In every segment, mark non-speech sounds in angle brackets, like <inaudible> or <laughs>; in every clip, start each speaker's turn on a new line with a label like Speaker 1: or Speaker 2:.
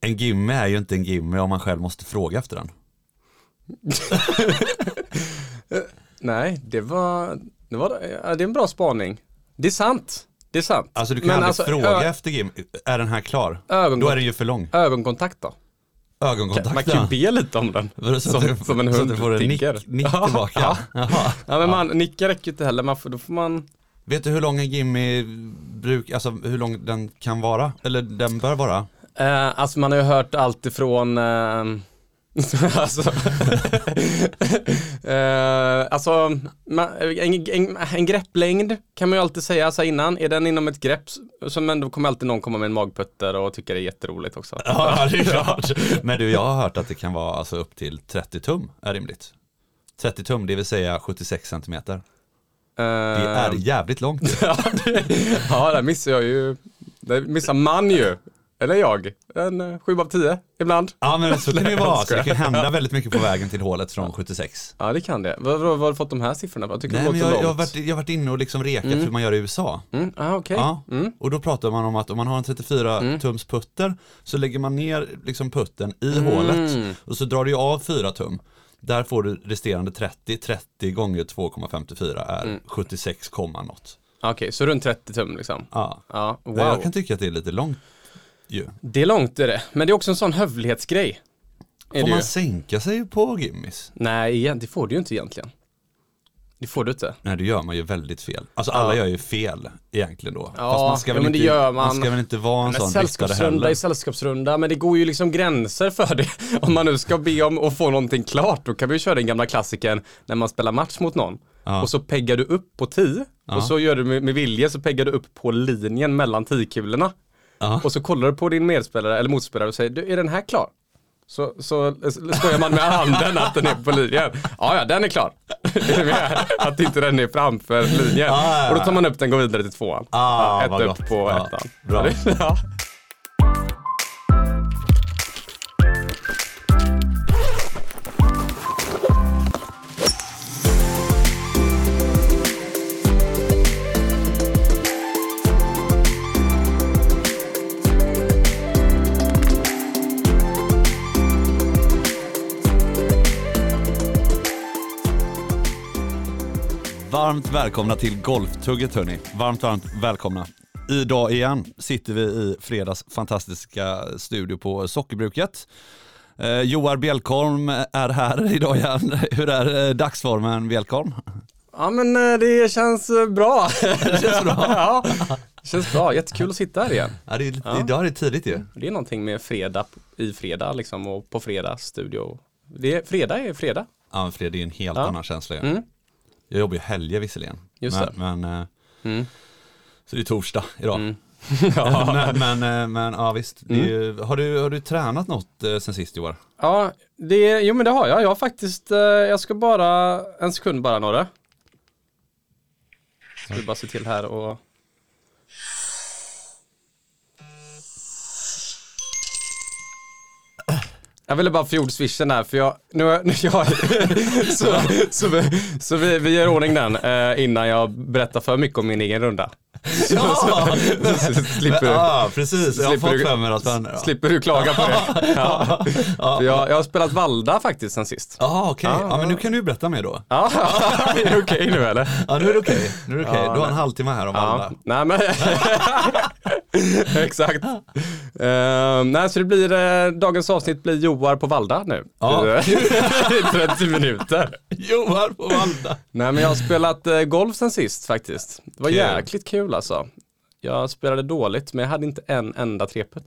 Speaker 1: En gimme är ju inte en gimme om man själv måste fråga efter den.
Speaker 2: Nej, det var, det var, ja, det är en bra spaning. Det är sant. Det är sant.
Speaker 1: Alltså du kan aldrig fråga efter gimme. Är den här klar?
Speaker 2: Ögonkon-
Speaker 1: Då är den ju för lång.
Speaker 2: Ögonkontakt då? Man
Speaker 1: Ögonkontakt
Speaker 2: kan ju
Speaker 1: ja.
Speaker 2: be lite om <laughs> den.
Speaker 1: Vadå, så att
Speaker 2: som-
Speaker 1: du-
Speaker 2: som en
Speaker 1: Så att
Speaker 2: hund
Speaker 1: du får en nick,
Speaker 2: tickar.
Speaker 1: nick tillbaka. Jaha.
Speaker 2: Ja, men man, nicka räcker ju inte heller, man får, då får man...
Speaker 1: Vet du hur lång en gimme bruk, alltså hur lång den kan vara? Eller den bör vara?
Speaker 2: Eh, alltså man har ju hört allt ifrån... Eh, <laughs> alltså, <laughs> eh, alltså man, en, en, en grepplängd kan man ju alltid säga så här innan. Är den inom ett grepp så men då kommer alltid någon komma med en magputter och tycka det är jätteroligt också.
Speaker 1: Ja, det är klart. Men du, jag har hört att det kan vara alltså upp till 30 tum är rimligt. 30 tum, det vill säga 76 centimeter. Det
Speaker 2: Eh,
Speaker 1: är
Speaker 2: Ehm.
Speaker 1: jävligt långt.
Speaker 2: <laughs> ja, det, ja, där missar jag ju. Där missar man ju. Eller jag. En eh, sju av tio ibland.
Speaker 1: Ja, men så kan det ju vara. Så det kan ju hända väldigt mycket på vägen till hålet från 76.
Speaker 2: Ja, det kan det. Var, var, var har du fått de här siffrorna? Jag tycker
Speaker 1: Nej,
Speaker 2: det
Speaker 1: men
Speaker 2: låter
Speaker 1: jag, jag, har
Speaker 2: långt.
Speaker 1: varit, jag har varit inne och liksom rekat hur man gör i USA.
Speaker 2: Mm, Mm. ah, okej.
Speaker 1: Ja, och då pratar man om att om man har en 34 tums putter så lägger man ner liksom putten
Speaker 2: Mm.
Speaker 1: i hålet och så drar du ju av 4 tum. Där får du resterande 30, 30 gånger 2,54 är
Speaker 2: Mm.
Speaker 1: 76, komma något.
Speaker 2: Ah, Okej, så runt 30 tum liksom.
Speaker 1: Ja.
Speaker 2: Ja, wow.
Speaker 1: Nej, Jag kan tycka att det är lite långt ju.
Speaker 2: Det är långt är det. Men det är också en sån hövlighetsgrej. Är
Speaker 1: Får
Speaker 2: det ju.
Speaker 1: man sänka sig på gimmis?
Speaker 2: Nej, igen, det får du ju inte egentligen. Det får du inte.
Speaker 1: Nej, det gör man ju väldigt fel. Alltså alla gör ju fel egentligen då.
Speaker 2: Ja,
Speaker 1: Fast man ska
Speaker 2: ja,
Speaker 1: väl
Speaker 2: men
Speaker 1: inte,
Speaker 2: det gör
Speaker 1: man
Speaker 2: man.
Speaker 1: ska väl inte vara en
Speaker 2: Men
Speaker 1: sån viktare
Speaker 2: Sällskapsrunda
Speaker 1: heller.
Speaker 2: är sällskapsrunda, men det går ju liksom gränser för det. <laughs> Om man nu ska be om att få någonting klart, då kan vi ju köra den gamla klassiken när man spelar match mot någon. Och så peggar du upp på 10 och så gör du med, med vilje så peggar du upp på linjen mellan 10-kulorna.
Speaker 1: Ja.
Speaker 2: Och så kollar du på din medspelare eller motspelare och säger, du, är den här klar? Så, så skojar man med handen att den är på linjen. Ja, ja, den är klar. <laughs> att inte den är framför linjen.
Speaker 1: ja, ja.
Speaker 2: Och då tar man upp den och går vidare till tvåan.
Speaker 1: Ah,
Speaker 2: Ja,
Speaker 1: vad
Speaker 2: ett
Speaker 1: gott.
Speaker 2: upp på
Speaker 1: Ja,
Speaker 2: ettan.
Speaker 1: bra.
Speaker 2: <laughs> Ja.
Speaker 1: Varmt välkomna till Golftugget hörni. Varmt, varmt välkomna. Idag igen sitter vi i fredags fantastiska studio på Sockerbruket. Eh, Joar Bjelkholm är här idag igen. <laughs> Hur är eh, dagsformen Bjelkholm?
Speaker 2: Ja men eh, det känns eh, bra. <laughs> Det
Speaker 1: känns bra.
Speaker 2: ja, det känns bra. Jättekul att sitta här igen.
Speaker 1: Ja, det är lite, Idag är det tidigt ju.
Speaker 2: Det är någonting med fredag i fredag liksom och på fredag studio. Det är, fredag är fredag.
Speaker 1: Ja, men Fred, det är en helt annan känsla ju.
Speaker 2: Mm.
Speaker 1: Jag jobbar ju helger visserligen.
Speaker 2: Just
Speaker 1: men,
Speaker 2: det.
Speaker 1: Men, eh,
Speaker 2: Mm.
Speaker 1: Så det är torsdag idag. <laughs>
Speaker 2: <laughs> Ja. Mm.
Speaker 1: men, men, eh, men ja visst, det är ju, har, du, har du tränat något eh, sen sist Joar?
Speaker 2: ja, det, jo men det har jag. Jag har faktiskt, eh, jag ska bara, en sekund bara några. Ska vi bara se till här och Jag ville bara förgjord swishen här för jag, nu, har- nu jag, <laughs> så, så, vi, så vi, vi gör ordning den eh, innan jag berättar för mycket om min egen runda. Så,
Speaker 1: Ja!
Speaker 2: <laughs> så, så, slipper, du-
Speaker 1: Ja, Ah, precis. Jag har
Speaker 2: slipper
Speaker 1: fått
Speaker 2: du-
Speaker 1: för mig att den... ja.
Speaker 2: slipper du klaga på det. <laughs> Ja. För Jag, jag har spelat Valda faktiskt sen sist.
Speaker 1: Jaha Ah, okej,
Speaker 2: Ah.
Speaker 1: ja men nu kan du berätta mer då.
Speaker 2: Ja, <laughs> är det okej nu eller?
Speaker 1: Ja nu är det okej, nu är det okej. Du har en halvtimme här om alla.
Speaker 2: Ja, <laughs> nej men exakt. Ehm, nej, så det blir, eh, dagens avsnitt blir Joar på Valda nu.
Speaker 1: Ja.
Speaker 2: <laughs> I 30 minuter.
Speaker 1: Joar på Valda.
Speaker 2: Nej men jag har spelat eh, golf sen sist faktiskt. Det var
Speaker 1: Kul.
Speaker 2: jäkligt kul alltså. Jag spelade dåligt men jag hade inte en enda trepet.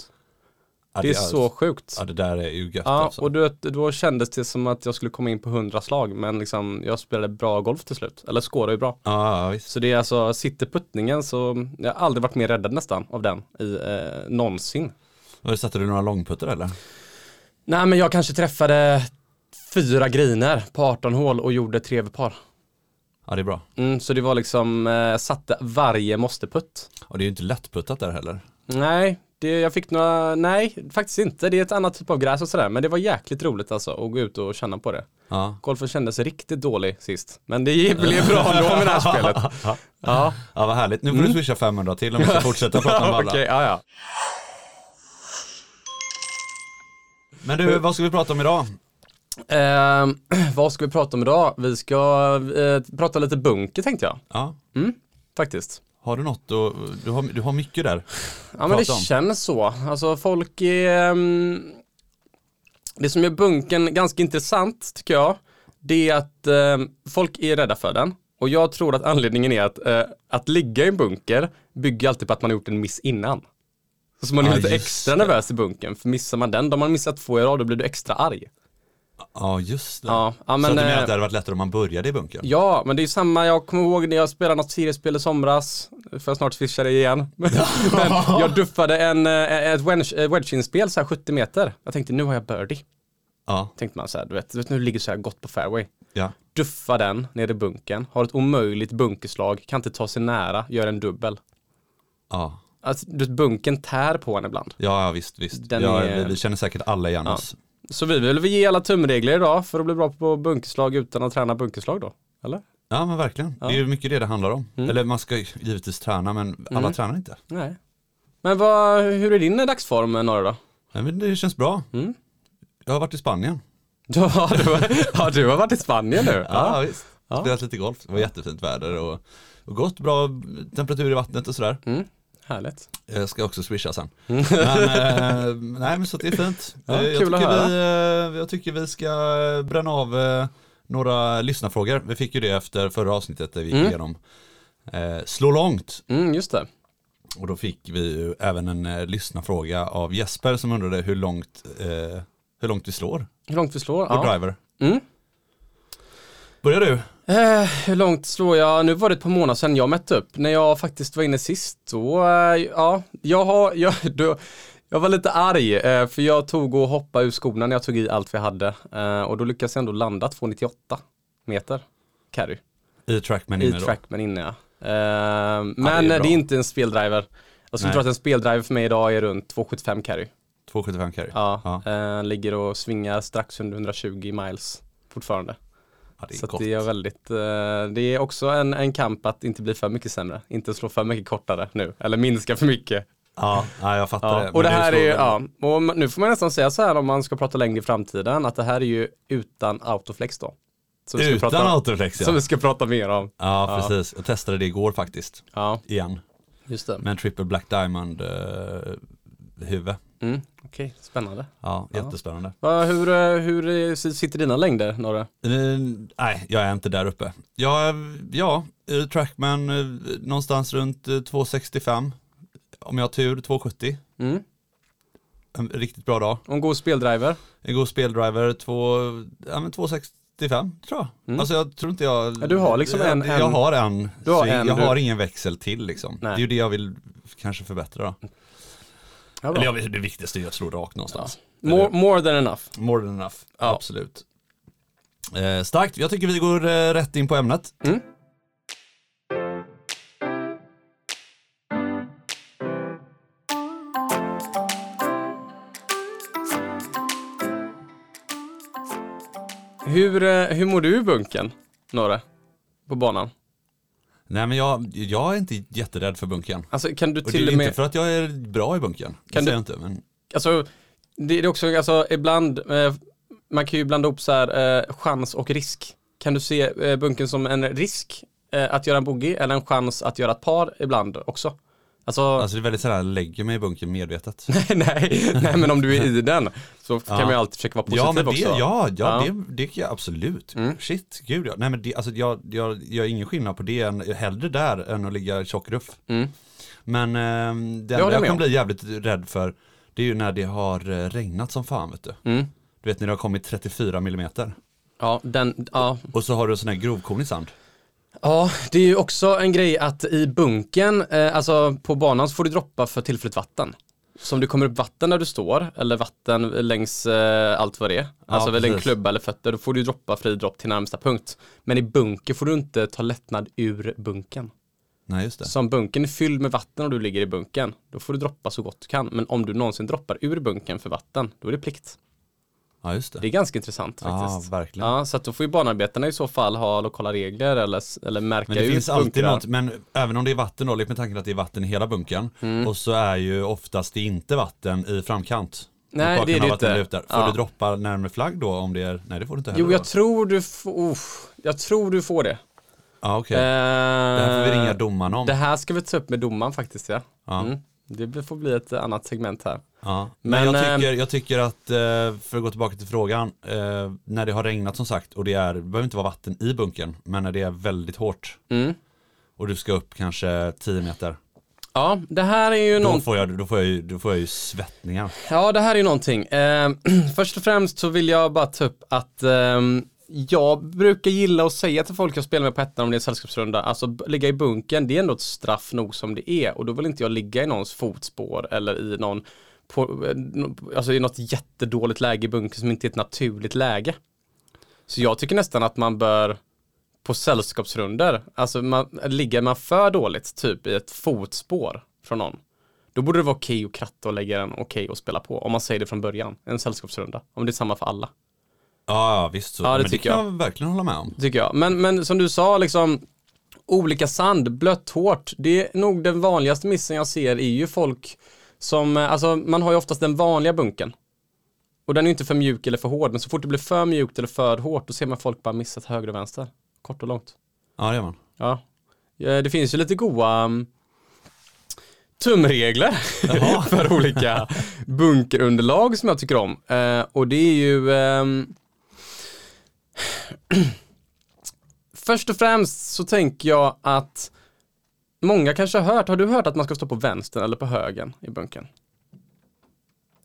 Speaker 1: Ja,
Speaker 2: Det är så sjukt.
Speaker 1: Ja det där är ju gött
Speaker 2: Ja,
Speaker 1: alltså.
Speaker 2: och du vet, då kändes det som att jag skulle komma in på hundra slag, men liksom, jag spelade bra golf till slut. Eller skårade ju bra.
Speaker 1: Ja, ja, visst.
Speaker 2: Så det är alltså, sitter puttningen så, jag har aldrig varit mer räddad nästan av den i, eh, någonsin.
Speaker 1: Och satte du några långputter eller?
Speaker 2: Nej men jag kanske träffade fyra griner på 18 hål och gjorde tre över par.
Speaker 1: Ja det är bra.
Speaker 2: Mm, så det var liksom, eh, jag satte varje måsteputt.
Speaker 1: Och det är ju inte lättputtat där heller.
Speaker 2: Nej, det, jag fick några, nej faktiskt inte. Det är ett annat typ av gräs och sådär, men det var jäkligt roligt alltså att gå ut och känna på det.
Speaker 1: Ja.
Speaker 2: Golfen kändes riktigt dålig sist, men det blev bra ändå med det här spelet. Ja,
Speaker 1: ja vad härligt, nu får
Speaker 2: Mm.
Speaker 1: du
Speaker 2: <laughs>
Speaker 1: swisha 500 till om vi ska fortsätta prata om
Speaker 2: okej,
Speaker 1: Valda.
Speaker 2: ja, ja.
Speaker 1: Men du, vad ska vi prata om idag?
Speaker 2: Eh, <clears throat> vad ska vi prata om idag? Vi ska eh, prata lite bunker tänkte jag.
Speaker 1: Ja.
Speaker 2: Mm, faktiskt.
Speaker 1: Har du något? Du, du, har, du har mycket där.
Speaker 2: Ja men det
Speaker 1: Prata om.
Speaker 2: känns så. Alltså folk är... ehm, Det som gör bunken ganska intressant tycker jag, det är att ehm, folk är rädda för den. Och jag tror att anledningen är att, eh, att ligga i en bunker bygger alltid på att man har gjort en miss innan. Så man är
Speaker 1: Ja,
Speaker 2: lite
Speaker 1: just
Speaker 2: extra nervös i bunkern, för missar man den, då har man missat två i rad, då blir du extra arg.
Speaker 1: Ja, just det.
Speaker 2: Ja, ja,
Speaker 1: så
Speaker 2: men,
Speaker 1: att du menar
Speaker 2: eh,
Speaker 1: att det hade varit lättare om man började i bunkern?
Speaker 2: Ja, men det är samma, jag kommer ihåg när jag spelade något seriespel i somras, för jag snart swishar dig igen. <laughs> Men jag duffade en, eh, ett wedge- eh, wedge-inspel så här 70 meter. Jag tänkte nu har jag birdie.
Speaker 1: Ja.
Speaker 2: Tänkte man så här, du vet, du vet nu ligger så här gott på fairway.
Speaker 1: ja.
Speaker 2: Duffa den nere i bunkern, har ett omöjligt bunkerslag, kan inte ta sig nära, gör en dubbel.
Speaker 1: ja.
Speaker 2: Alltså, du vet, bunken tär på en ibland.
Speaker 1: Ja, ja visst, visst.
Speaker 2: Den
Speaker 1: ja,
Speaker 2: är-
Speaker 1: vi, vi känner säkert alla igen oss.
Speaker 2: Så vi vill ge alla tumregler idag för att bli bra på bunkerslag utan att träna bunkerslag då. Eller?
Speaker 1: Ja, men verkligen. Det är ju mycket det det handlar om.
Speaker 2: Mm.
Speaker 1: Eller man ska ju givetvis träna, men alla tränar inte.
Speaker 2: Nej. Men vad, hur är din dagsform Norre då?
Speaker 1: Nej, men det känns bra.
Speaker 2: Mm.
Speaker 1: Jag har varit i Spanien.
Speaker 2: Ja, du, har- ja, du har varit i Spanien nu.
Speaker 1: Ja, visst. Spelat lite golf. Det var jättefint väder och, och gott. Bra temperatur i vattnet och sådär.
Speaker 2: Mm, härligt.
Speaker 1: Jag ska också swisha sen. Men, eh, nej <laughs> men så att det är fint.
Speaker 2: Mm. Ja,
Speaker 1: Eh, jag,
Speaker 2: kul att
Speaker 1: tycker vi, eh, jag tycker vi ska bränna av eh, några lyssnarfrågor. Vi fick ju det efter förra avsnittet där vi gick igenom eh, slå långt.
Speaker 2: Mm, just det.
Speaker 1: Och då fick vi ju även en eh, lyssnarfråga av Jesper som undrade hur långt, eh, hur långt vi slår
Speaker 2: Hur långt vi slår?
Speaker 1: på
Speaker 2: Ja.
Speaker 1: driver.
Speaker 2: Mm.
Speaker 1: Börjar du?
Speaker 2: Eh, hur långt slår jag? Nu var det ett par månader sedan jag mätte upp. När jag faktiskt var inne sist då, eh, ja, jag har, jag, då, jag var lite arg eh, för jag tog och hoppade ur skorna när jag tog i allt vi hade. Eh, och då lyckades jag ändå landa 298 meter carry
Speaker 1: I trackman
Speaker 2: i
Speaker 1: inne då?
Speaker 2: trackman inne ja. Eh, men det
Speaker 1: bra.
Speaker 2: är, inte en speldriver. Jag skulle
Speaker 1: Nej.
Speaker 2: tro att en speldriver för mig idag är runt 275 carry.
Speaker 1: 2,75 carry.
Speaker 2: Ja,
Speaker 1: Ja.
Speaker 2: eh, ligger och svingar strax under 120 miles fortfarande.
Speaker 1: Ja, det är
Speaker 2: Så att
Speaker 1: gott.
Speaker 2: det är väldigt, eh, det är också en, en kamp att inte bli för mycket sämre, inte slå för mycket kortare nu, eller minska för mycket.
Speaker 1: Ja, ja, jag fattar
Speaker 2: Ja.
Speaker 1: det.
Speaker 2: och det här är,
Speaker 1: ju
Speaker 2: ju,
Speaker 1: så-
Speaker 2: ja, och nu får man nästan säga så här om man ska prata längre i framtiden, att det här är ju utan autoflex då. Så vi ska
Speaker 1: Utan
Speaker 2: prata,
Speaker 1: autoflex ja.
Speaker 2: Som vi ska prata mer om.
Speaker 1: Ja, precis. Jag testade det igår faktiskt.
Speaker 2: Ja,
Speaker 1: Igen.
Speaker 2: just det.
Speaker 1: Med en triple black diamond eh, huvud.
Speaker 2: Mm, Okej, spännande.
Speaker 1: Ja, jättespännande.
Speaker 2: Va, hur, eh, hur eh, sitter dina längder, Norre?
Speaker 1: Eh, nej, jag är inte där uppe. Jag, ja, eh, trackman eh, någonstans runt eh, 265. Om jag har tur 270.
Speaker 2: Mm.
Speaker 1: En riktigt bra dag.
Speaker 2: Om god speldriver?
Speaker 1: En god speldriver, två, ja, men 265 tror jag. Alltså jag tror inte jag...
Speaker 2: Mm. Ja, du har liksom
Speaker 1: jag,
Speaker 2: en-
Speaker 1: Jag
Speaker 2: en-
Speaker 1: har en.
Speaker 2: Du har
Speaker 1: så jag
Speaker 2: en,
Speaker 1: jag
Speaker 2: du-
Speaker 1: har ingen växel till liksom.
Speaker 2: Nej.
Speaker 1: Det är ju det jag vill kanske förbättra då.
Speaker 2: Ja,
Speaker 1: Eller
Speaker 2: bra.
Speaker 1: jag vet, det viktigaste är att slå rakt någonstans.
Speaker 2: More, more than enough.
Speaker 1: More than enough, absolut. Eh, starkt, jag tycker vi går eh, rätt in på ämnet.
Speaker 2: Mm. Hur, eh, hur mår du i bunken, Norre? På banan?
Speaker 1: Nej men jag, jag är inte jätterädd för bunkern.
Speaker 2: Alltså kan du
Speaker 1: Och det är
Speaker 2: till
Speaker 1: ju
Speaker 2: och
Speaker 1: inte
Speaker 2: med,
Speaker 1: för att jag är bra i bunkern. Kan
Speaker 2: Kan
Speaker 1: det
Speaker 2: du-
Speaker 1: du... jag inte, men
Speaker 2: alltså det är också, alltså ibland, eh, man kan ju blanda ihop så här eh, chans och risk. Kan du se eh, bunken som en risk eh, att göra en bogey eller en chans att göra ett par ibland också? Alltså, <laughs>
Speaker 1: alltså det är väldigt sällan jag lägger mig i bunkern medvetet.
Speaker 2: nej, nej, men om du är i den så kan man ju alltid försöka vara positiv
Speaker 1: Ja, men det,
Speaker 2: också.
Speaker 1: ja, ja,
Speaker 2: Ja. Mm.
Speaker 1: Det, det kan jag absolut. Shit, gud ja. Nej men det, alltså jag, jag gör ingen skillnad på det, än, hellre där än att ligga tjock ruff.
Speaker 2: Mm.
Speaker 1: Men ehm, det
Speaker 2: håller
Speaker 1: enda jag
Speaker 2: med
Speaker 1: kan
Speaker 2: om.
Speaker 1: bli jävligt rädd för, det är ju när det har eh, regnat som fan vet du.
Speaker 2: Mm.
Speaker 1: Du vet när det har kommit 34 millimeter
Speaker 2: Ja, den, ja.
Speaker 1: och så har du en sån här grovkornig sand.
Speaker 2: ja, det är ju också en grej att i bunken, eh, alltså på banan så får du droppa för tillfälligt vatten. Så om det kommer upp vatten där du står, eller vatten längs eh, allt vad det är, alltså väl en
Speaker 1: precis.
Speaker 2: klubba eller fötter, då får du ju droppa fri dropp till närmsta punkt. Men i bunker får du inte ta lättnad ur bunken.
Speaker 1: Nej just det.
Speaker 2: Så om bunken är fylld med vatten och du ligger i bunken, då får du droppa så gott du kan. Men om du någonsin droppar ur bunken för vatten, då är det plikt.
Speaker 1: Ja just det.
Speaker 2: Det är ganska intressant
Speaker 1: Ja
Speaker 2: faktiskt.
Speaker 1: verkligen.
Speaker 2: Ja, så att då får ju banarbetarna i så fall ha lokala regler eller, eller märka
Speaker 1: Men det
Speaker 2: ut
Speaker 1: finns alltid
Speaker 2: bunkrar.
Speaker 1: något, men även om det är vatten
Speaker 2: Mm.
Speaker 1: då, lek med tanken att det är vatten i hela bunkern och så är ju oftast det inte vatten i framkant.
Speaker 2: Nej, det är det inte.
Speaker 1: Minuter. Får
Speaker 2: Ja.
Speaker 1: du droppa närmare flagg då om det är, nej det får du inte heller
Speaker 2: Jo, jag
Speaker 1: va?
Speaker 2: tror du får, uff, jag tror du får det.
Speaker 1: Ja okej, det
Speaker 2: det
Speaker 1: här får vi ringa domaren om.
Speaker 2: Eh, Det här ska vi ta upp med domaren faktiskt ja.
Speaker 1: Ja.
Speaker 2: Mm. Det får bli ett annat segment här.
Speaker 1: Ja. Men,
Speaker 2: Men,
Speaker 1: jag,
Speaker 2: ehm,
Speaker 1: tycker, jag tycker att, eh, för att gå tillbaka till frågan, eh, när det har regnat som sagt och det är, det behöver inte vara vatten i bunkern, men när det är väldigt hårt
Speaker 2: Mm.
Speaker 1: och du ska upp kanske 10 meter,
Speaker 2: Ja, det här är ju
Speaker 1: då
Speaker 2: någon...
Speaker 1: får jag, då får jag, ju, då får jag ju svettningar.
Speaker 2: Ja, det här är ju någonting. Eh, <clears throat> först och främst så vill jag bara ta upp att ehm, jag brukar gilla att säga till folk jag spelar med på ettan om det är en sällskapsrunda, alltså b- ligga i bunken, det är ändå ett straff nog som det är och då vill inte jag ligga i någons fotspår eller i någon, på, eh, no- alltså i något jättedåligt läge i bunkern som inte är ett naturligt läge. Så jag tycker nästan att man bör på sällskapsrunder, alltså man, ligger man för dåligt typ i ett fotspår från någon, då borde det vara okej att kratta och lägga den, okej att spela på. Om man säger det från början, en sällskapsrunda. Om det är samma för alla,
Speaker 1: Ja, ja, visst så.
Speaker 2: Ja, det
Speaker 1: men det
Speaker 2: tycker
Speaker 1: kan jag. verkligen hålla med om.
Speaker 2: tycker jag. Men, men som du sa, liksom olika sand, blött, hårt. Det är nog den vanligaste missen jag ser är ju folk som, eh, alltså man har ju oftast den vanliga bunken. Och den är ju inte för mjuk eller för hård, men så fort det blir för mjukt eller för hårt, då ser man folk bara missa till höger och vänster. Kort och långt.
Speaker 1: Ja, det gör man.
Speaker 2: Ja, Ja, det finns ju lite goa mm, tumregler <laughs> för olika bunkerunderlag som jag tycker om. Eh, och det är ju ehm, <clears throat> Först och främst så tänker jag att många kanske har hört, har du hört att man ska stå på vänstern eller på högen i bunkern?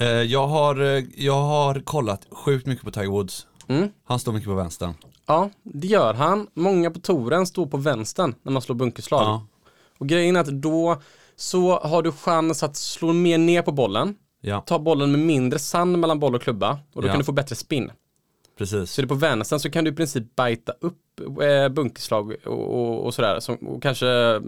Speaker 1: Eh, jag, har, eh, jag har kollat sjukt mycket på Tiger Woods.
Speaker 2: Mm.
Speaker 1: Han står mycket på vänstern.
Speaker 2: Ja, det gör han. Många på touren står på vänstern när man slår bunkerslag.
Speaker 1: Ja,
Speaker 2: Och grejen är att då så har du chans att slå mer ner på bollen
Speaker 1: ja
Speaker 2: ta bollen med mindre sand mellan boll och klubba och då
Speaker 1: Ja.
Speaker 2: kan du få bättre spin.
Speaker 1: precis.
Speaker 2: Så är det på vänstern så kan du i princip bajta upp eh, bunkerslag och, och, och sådär som och kanske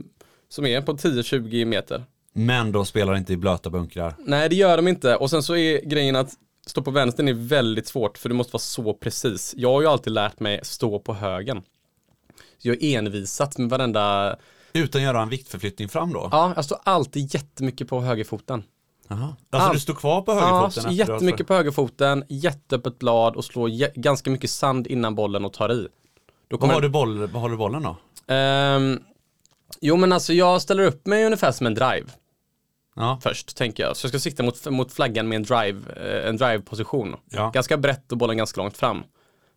Speaker 2: som är på 10-20 meter.
Speaker 1: Men de spelar inte i blöta bunkrar.
Speaker 2: Nej det gör de inte och sen så är grejen att stå på vänstern är väldigt svårt för du måste vara så precis. Jag har ju alltid lärt mig stå på högen. Så jag är envisat med varenda,
Speaker 1: Utan göra en viktförflyttning fram då?
Speaker 2: ja jag står alltid jättemycket på högerfoten.
Speaker 1: Jaha. Alltså
Speaker 2: Allt.
Speaker 1: du står kvar på
Speaker 2: Ja,
Speaker 1: högerfoten? efter alltså. du har-
Speaker 2: jättemycket på högerfoten, jätteöppet blad och slår jä- ganska mycket sand innan bollen och tar i. Då
Speaker 1: Vad
Speaker 2: kommer
Speaker 1: har du boll, vad har du bollen då?
Speaker 2: Ehm, jo men alltså jag ställer upp mig ungefär som en drive
Speaker 1: Ja, alltså,
Speaker 2: först tänker jag. Så jag ska sikta mot, mot flaggan med en drive, eh, en drive-position.
Speaker 1: Ja.
Speaker 2: Ganska brett och bollen ganska långt fram.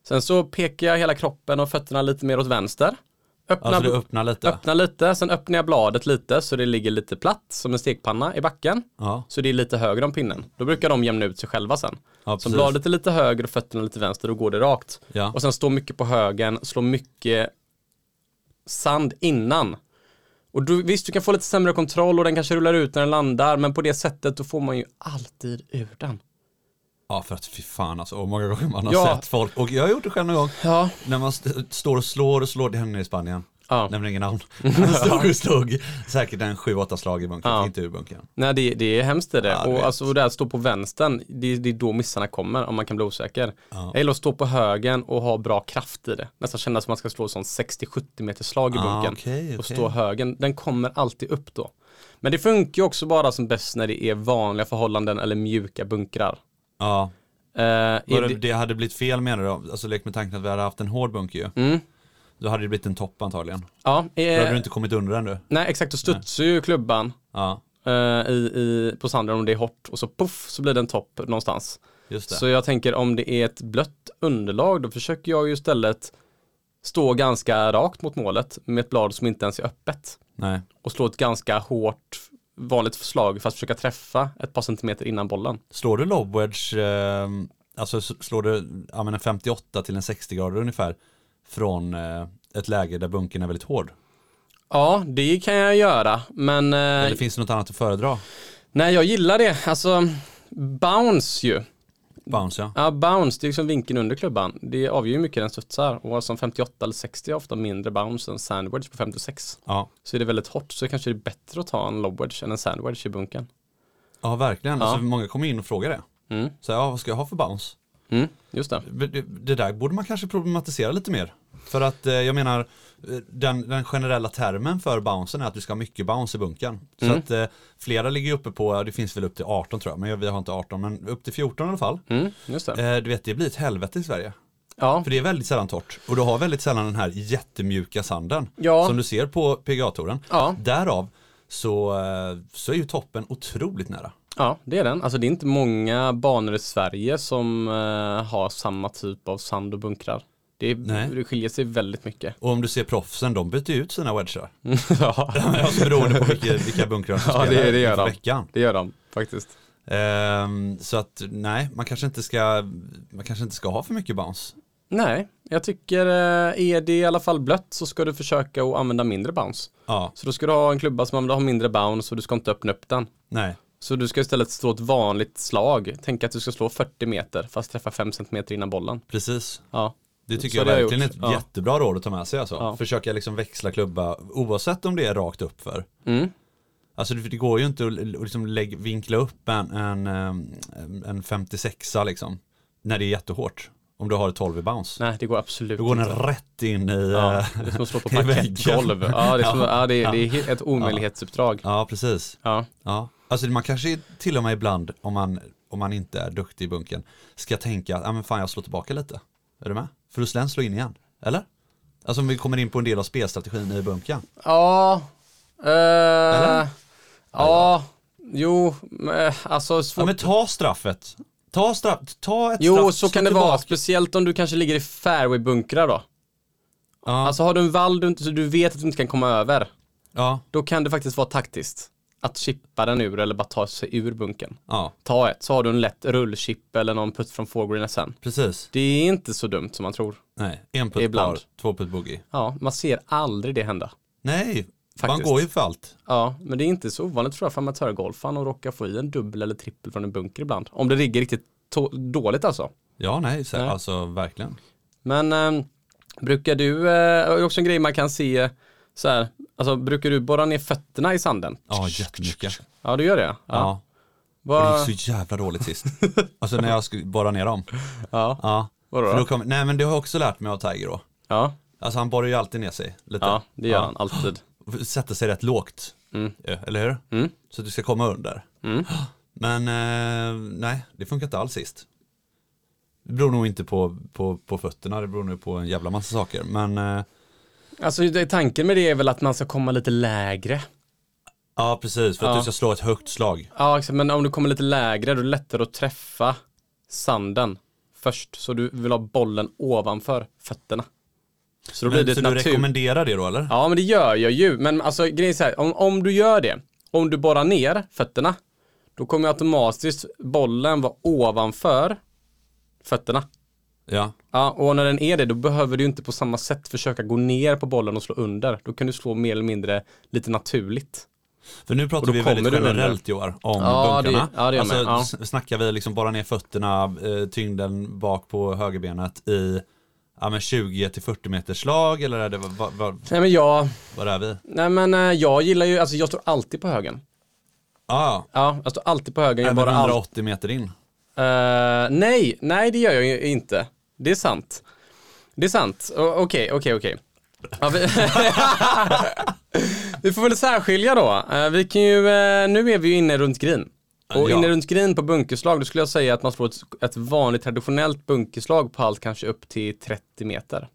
Speaker 2: Sen så pekar jag hela kroppen och fötterna lite mer åt vänster. Öppnar,
Speaker 1: alltså du öppnar lite?
Speaker 2: öppnar lite, sen öppnar jag bladet lite så det ligger lite platt som en stekpanna i backen.
Speaker 1: Ja,
Speaker 2: Så det är lite högre om pinnen. Då brukar de jämna ut sig själva sen.
Speaker 1: ja
Speaker 2: Så
Speaker 1: precis.
Speaker 2: bladet är lite höger och fötterna lite vänster, då går det rakt.
Speaker 1: Ja.
Speaker 2: Och sen står mycket på högen, slår mycket sand innan. Och du, visst, du kan få lite sämre kontroll och den kanske rullar ut när den landar, men på det sättet då får man ju alltid ur den.
Speaker 1: Ja, för att fy fan alltså, hur många gånger man har
Speaker 2: Ja.
Speaker 1: sett folk, och jag har gjort det själv någon gång,
Speaker 2: Ja.
Speaker 1: när man st- står och slår och slår, det hände i Spanien,
Speaker 2: ja.
Speaker 1: nämner ingen
Speaker 2: <laughs>
Speaker 1: namn, man stod och slog säkert en 7-8 slag i bunkern,
Speaker 2: Ja.
Speaker 1: inte ur bunkern.
Speaker 2: Nej, det, det är hemskt det.
Speaker 1: Ja, du vet.
Speaker 2: och, alltså, och där stå på vänstern, det, det är då missarna kommer om man kan bli osäker. Jag gillar att stå på högen och ha bra kraft i det. Nästan kännas som att man ska slå sån 60-70 meters slag i
Speaker 1: Ah,
Speaker 2: bunken.
Speaker 1: okej,
Speaker 2: Och
Speaker 1: okej.
Speaker 2: stå högen, den kommer alltid upp då. Men det funkar ju också bara som bäst när det är vanliga förhållanden eller mjuka bunkrar.
Speaker 1: Ja,
Speaker 2: Eh, är
Speaker 1: Var det,
Speaker 2: det-
Speaker 1: det hade blivit fel menar du? Alltså lek med tanken att vi hade haft en hård bunker ju.
Speaker 2: Mm.
Speaker 1: Då hade det blivit en topp antagligen.
Speaker 2: ja,
Speaker 1: Då hade
Speaker 2: eh,
Speaker 1: du inte kommit under den du.
Speaker 2: nej exakt, då studsar ju klubban
Speaker 1: Ja,
Speaker 2: eh, i, i, på sanden om det är hårt och så puff så blir det en topp någonstans.
Speaker 1: just det.
Speaker 2: Så jag tänker om det är ett blött underlag då försöker jag ju istället stå ganska rakt mot målet med ett blad som inte ens är öppet
Speaker 1: Nej.
Speaker 2: och slå ett ganska hårt vanligt slag för att försöka träffa ett par centimeter innan bollen.
Speaker 1: Slår du lobwedge, eh, alltså s- slår du ja, men en 58 till en 60 grader ungefär från eh, ett läge där bunkern är väldigt hård?
Speaker 2: Ja, det kan jag göra, men eh,
Speaker 1: Eller finns det något annat att föredra?
Speaker 2: nej, jag gillar det. Alltså, bounce ju.
Speaker 1: Bounce ja.
Speaker 2: Ja, bounce, det är liksom vinkeln under klubban. Det avgör ju hur mycket den studsar och som 58 eller 60 är ofta mindre bounce än sandwich på 56.
Speaker 1: Ja,
Speaker 2: Så är det väldigt hårt så kanske det är bättre att ta en lobwedge än en sandwedge i bunken.
Speaker 1: ja verkligen.
Speaker 2: Ja.
Speaker 1: Alltså, många kommer in och frågar det.
Speaker 2: Mm.
Speaker 1: Så, ja, vad ska jag ha för bounce?
Speaker 2: Mm, just det.
Speaker 1: Det- Det där borde man kanske problematisera lite mer. För att eh, jag menar, eh, den, den generella termen för bouncen är att du ska ha mycket bounce i bunkern. Så
Speaker 2: Mm.
Speaker 1: att eh, flera ligger uppe på, ja, det finns väl upp till 18 tror jag, men vi har inte 18, men upp till 14 i alla fall.
Speaker 2: Mm, just det.
Speaker 1: Eh, du vet, det blir ett helvete i Sverige.
Speaker 2: Ja,
Speaker 1: För det är väldigt sällan torrt. Och du har väldigt sällan den här jättemjuka sanden.
Speaker 2: Ja.
Speaker 1: Som du ser på PGA-touren.
Speaker 2: Ja.
Speaker 1: Därav så, eh, så är ju toppen otroligt nära.
Speaker 2: ja, det är den. Alltså det är inte många banor i Sverige som eh, har samma typ av sand och bunkrar. Det,
Speaker 1: Nej.
Speaker 2: det skiljer sig
Speaker 1: <laughs>
Speaker 2: väldigt mycket. <laughs>
Speaker 1: Och om du ser proffsen, de byter ju ut sina wedgar.
Speaker 2: ja,
Speaker 1: <laughs> Alltså beroende på
Speaker 2: <laughs>
Speaker 1: vilka, vilka bunkrar de
Speaker 2: Mm. ja
Speaker 1: spelar
Speaker 2: det, det gör
Speaker 1: inför
Speaker 2: de.
Speaker 1: veckan.
Speaker 2: Det gör de faktiskt.
Speaker 1: Ehm, så att nej, man kanske, inte ska, man kanske inte ska ha för mycket bounce.
Speaker 2: Nej, jag tycker eh, är det i alla fall blött så ska du försöka att använda mindre bounce.
Speaker 1: Ja,
Speaker 2: Så då ska du ha en klubba som använder- har mindre bounce och du ska inte öppna upp den.
Speaker 1: nej.
Speaker 2: Så du ska istället slå ett vanligt slag. Tänk att du ska slå 40 meter fast träffa 5 centimeter innan bollen.
Speaker 1: Precis.
Speaker 2: Ja,
Speaker 1: Det tycker
Speaker 2: Så
Speaker 1: jag
Speaker 2: det har jag
Speaker 1: verkligen är
Speaker 2: gjort.
Speaker 1: ett
Speaker 2: Ja.
Speaker 1: jättebra råd att ta med sig. Alltså.
Speaker 2: Ja.
Speaker 1: Försöka liksom växla klubba oavsett om det är rakt upp för.
Speaker 2: mm.
Speaker 1: Alltså det det går ju inte att l- liksom lägg, vinkla upp en, en, ehm, en 56a liksom. När det är jättehårt. Om du har ett 12 i bounce.
Speaker 2: nej det går absolut
Speaker 1: Då går den
Speaker 2: inte.
Speaker 1: rätt in i...
Speaker 2: Ja,
Speaker 1: eh,
Speaker 2: <laughs> det är som att slå på
Speaker 1: i
Speaker 2: parkettgolv.
Speaker 1: väggen.
Speaker 2: Ja, det är, som,
Speaker 1: Ja.
Speaker 2: ja, det är, det är he- ett omöjlighetsuppdrag.
Speaker 1: Ja, precis.
Speaker 2: Ja.
Speaker 1: Ja. Alltså man kanske till och med ibland, om man, om man inte är duktig i bunken, ska tänka att ah, men fan jag slår tillbaka lite. Är du med? För då slår den slå in igen. Eller? Alltså om vi kommer in på en del av spelstrategin i bunken.
Speaker 2: Ja.
Speaker 1: Eller?
Speaker 2: Eh, ja. Jo, men, alltså
Speaker 1: Ja,
Speaker 2: svårt.
Speaker 1: men ta straffet. Ta straff, ta ett straff.
Speaker 2: Jo, så
Speaker 1: slå
Speaker 2: kan det vara.
Speaker 1: tillbaka.
Speaker 2: Speciellt om du kanske ligger i fairway-bunkrar då.
Speaker 1: Ja,
Speaker 2: Alltså har du en vall du, inte, så du vet att du inte kan komma över,
Speaker 1: ja,
Speaker 2: då kan det faktiskt vara taktiskt. Att chippa den ur eller bara ta sig ur bunken.
Speaker 1: ja,
Speaker 2: Ta ett, så har du en lätt rullchip eller någon putt från foregreenen sen.
Speaker 1: precis.
Speaker 2: Det är inte så dumt som man tror.
Speaker 1: Nej, en putt
Speaker 2: Ibland.
Speaker 1: par, två putt bogey.
Speaker 2: Ja, man ser aldrig det hända.
Speaker 1: Nej, man
Speaker 2: Faktiskt.
Speaker 1: går ju för allt.
Speaker 2: Ja, men det är inte så ovanligt tror jag för amatörgolfaren att råka få i en dubbel eller trippel från en bunker ibland. Om det ligger riktigt to- dåligt alltså.
Speaker 1: Ja, nej, så,
Speaker 2: Nej.
Speaker 1: alltså verkligen.
Speaker 2: Men eh, brukar du, eh, det är också en grej man kan se så här, alltså brukar du borra ner fötterna i sanden?
Speaker 1: Ja, jättemycket.
Speaker 2: Ja, du gör det?
Speaker 1: Ja. Och
Speaker 2: Vad-
Speaker 1: det gick så jävla dåligt
Speaker 2: <laughs>
Speaker 1: sist. alltså när jag skulle borra ner dem.
Speaker 2: ja.
Speaker 1: Ja.
Speaker 2: Vadå
Speaker 1: För
Speaker 2: då?
Speaker 1: då kom, nej men det har jag också lärt mig av Tiger då.
Speaker 2: ja,
Speaker 1: Alltså han borrar ju alltid ner sig lite.
Speaker 2: ja, Mm. det gör han alltid.
Speaker 1: han. Sätter sig rätt lågt. Ja, Eller hur? Så att du ska komma under.
Speaker 2: Mm.
Speaker 1: <gasps> Men eh, nej, det funkar inte alls sist. Det beror nog inte på, på, på fötterna, det beror nog på en jävla massa saker. Men eh,
Speaker 2: Alltså det- tanken med det är väl att man ska komma lite lägre.
Speaker 1: ja, precis. För att
Speaker 2: Ja.
Speaker 1: du ska slå ett högt slag.
Speaker 2: Ja, exakt, men om du kommer lite lägre då är det lättare att träffa sanden först. Så du vill ha bollen ovanför fötterna. Så då blir
Speaker 1: Men,
Speaker 2: det
Speaker 1: så
Speaker 2: ett
Speaker 1: du
Speaker 2: natur.
Speaker 1: rekommenderar det då eller?
Speaker 2: Ja, men det gör jag ju. Men alltså grejen är så här, om, om du gör det, om du borrar ner fötterna, då kommer ju automatiskt bollen vara ovanför fötterna.
Speaker 1: Ja.
Speaker 2: Ja, och när den är det, då behöver du ju inte på samma sätt försöka gå ner på bollen och slå under. Då kan du slå mer eller mindre lite naturligt.
Speaker 1: För nu
Speaker 2: Och
Speaker 1: pratar
Speaker 2: då
Speaker 1: vi väldigt
Speaker 2: kommer du
Speaker 1: generellt Joar om
Speaker 2: Ja,
Speaker 1: bunkrarna.
Speaker 2: det- ja, det gör
Speaker 1: alltså,
Speaker 2: man, ja.
Speaker 1: s- Snackar vi liksom bara ner fötterna, eh, tyngden bak på högerbenet i ja, men 20-40 meters slag eller är det, vad, vad,
Speaker 2: Nej men jag,
Speaker 1: vad är vi?
Speaker 2: nej men eh, jag gillar ju, alltså jag står alltid på högen.
Speaker 1: Ah, Ja,
Speaker 2: Ja, jag står alltid på högen. Jag
Speaker 1: även
Speaker 2: bara all...
Speaker 1: 180 meter in.
Speaker 2: Eh, nej, nej det gör jag ju inte. Det är sant. Det är sant. O- Okej, okej, okej. Ja, vi... <laughs> vi får väl särskilja då. Eh, vi kan ju, eh, nu är vi ju inne runt green. Och
Speaker 1: Ja.
Speaker 2: inne runt green på bunkerslag, då skulle jag säga att man slår ett, ett vanligt traditionellt bunkerslag på allt kanske upp till 30 meter.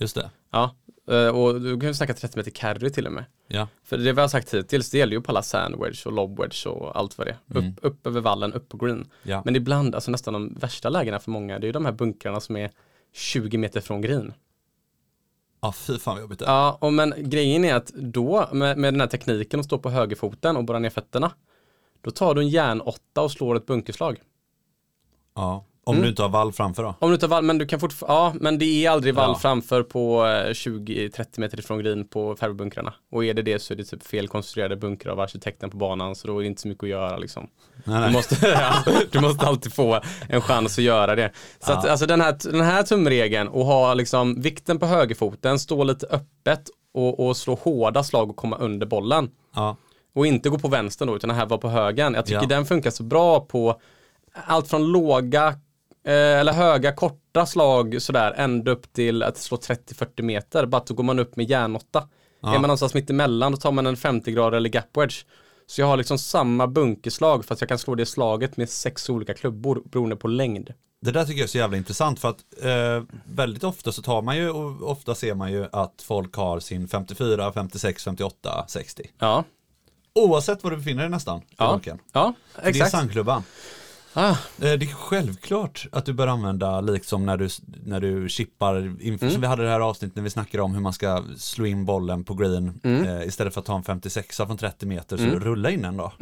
Speaker 1: Just det.
Speaker 2: Ja, eh, och du kan ju snacka 30 meter carry till och med.
Speaker 1: Ja,
Speaker 2: För det vi har sagt hittills, det gäller ju på alla sandwedge och lobwedge och allt vad det är.
Speaker 1: Mm.
Speaker 2: Upp, upp över vallen, upp på green.
Speaker 1: Ja.
Speaker 2: Men ibland, alltså nästan de värsta lägena för många, det är ju de här bunkrarna som är 20 meter från green.
Speaker 1: ja Ah, fy fan vad jobbigt det är.
Speaker 2: Ja, och men grejen är att då, med, med den här tekniken att stå på högerfoten och borra ner fötterna, då tar du en järnåtta och slår ett bunkerslag.
Speaker 1: Ja. Om
Speaker 2: Mm.
Speaker 1: du inte har vall framför då?
Speaker 2: Om du tar vall, men du kan fortfarande, ja, men det är aldrig vall
Speaker 1: Ja.
Speaker 2: framför på eh, 20-30 meter ifrån green på färgbunkrarna. Och är det det så är det typ felkonstruerade bunkrar av arkitekten på banan, så då är det inte så mycket att göra liksom.
Speaker 1: Nej,
Speaker 2: Du
Speaker 1: nej.
Speaker 2: måste, <laughs> ja, du måste alltid få en chans att göra det. Så att, alltså den här, den här tumregeln och ha liksom vikten på högerfoten, stå lite öppet och, och slå hårda slag och komma under bollen.
Speaker 1: Ja.
Speaker 2: Och inte gå på vänstern då, utan det här var på högen. Jag tycker
Speaker 1: Ja.
Speaker 2: den funkar så bra på allt från låga eh, eller höga, korta korta slag sådär ända upp till att slå 30-40 meter. Bara att då går man upp med järnåtta. Är man någonstans mitt emellan då tar man en 50 grader eller gap wedge. Så jag har liksom samma bunkerslag fast jag kan slå det slaget med sex olika klubbor beroende på längd.
Speaker 1: Det där tycker jag är så jävla intressant för att eh, väldigt ofta så tar man ju, och ofta ser man ju att folk har sin 54, 56, 58, 60.
Speaker 2: Ja,
Speaker 1: Oavsett var du befinner dig nästan. i
Speaker 2: ja,
Speaker 1: bunken.
Speaker 2: ja
Speaker 1: Det är
Speaker 2: exakt.
Speaker 1: sandklubban.
Speaker 2: ah,
Speaker 1: Eh, Det är självklart att du bör använda, liksom när du, när du chippar, inför,
Speaker 2: Mm.
Speaker 1: som vi hade det här avsnittet när vi snackade om hur man ska slå in bollen på green
Speaker 2: Mm.
Speaker 1: eh, istället för att ta en 56 från 30 meter så rulla in den då.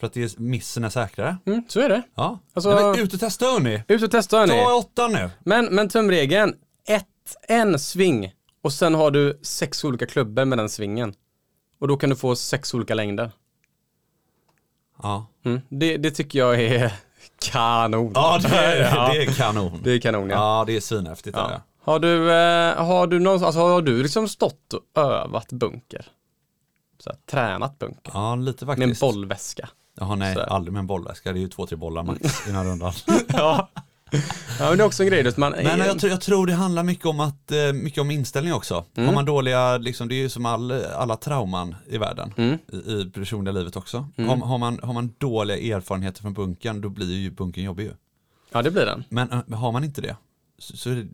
Speaker 1: För att det är, missen är säkrare.
Speaker 2: mm, så är det.
Speaker 1: Ja,
Speaker 2: Alltså-
Speaker 1: Nej, men ut och testa hörni.
Speaker 2: Ut och testa hörni.
Speaker 1: Ta åtta nu.
Speaker 2: Men, men tumregeln, ett, en sving och sen har du sex olika klubbor med den svingen. Och då kan du få sex olika längder.
Speaker 1: Ja,
Speaker 2: Mm. Det, det tycker jag är <laughs> kanon.
Speaker 1: ja, det, är,
Speaker 2: Mm. <laughs> Ja.
Speaker 1: det är kanon.
Speaker 2: Det är kanon ja.
Speaker 1: Ja, det är svinhäftigt. är det.
Speaker 2: Har du, eh, har du någon, alltså har du liksom stått och övat bunker? Så här, tränat bunker?
Speaker 1: Ja, lite
Speaker 2: Med en
Speaker 1: faktiskt.
Speaker 2: bollväska?
Speaker 1: Jaha, nej,
Speaker 2: Så här.
Speaker 1: aldrig med en bollväska. Det är ju två, tre bollar
Speaker 2: <laughs>
Speaker 1: max i den här rundan.
Speaker 2: ja. <laughs> ja, men det är också en grej. att Man,
Speaker 1: Men jag, tror- jag tror det handlar mycket om, att, eh, mycket om inställning också.
Speaker 2: Mm.
Speaker 1: Har man dåliga, liksom, det är ju som all, alla trauman i världen,
Speaker 2: Mm.
Speaker 1: i, i personliga livet också. Har, har, man, har man dåliga erfarenheter från bunkern, då blir ju bunkern jobbig ju.
Speaker 2: ja, det blir den.
Speaker 1: Men eh, har man inte det, så, så är det,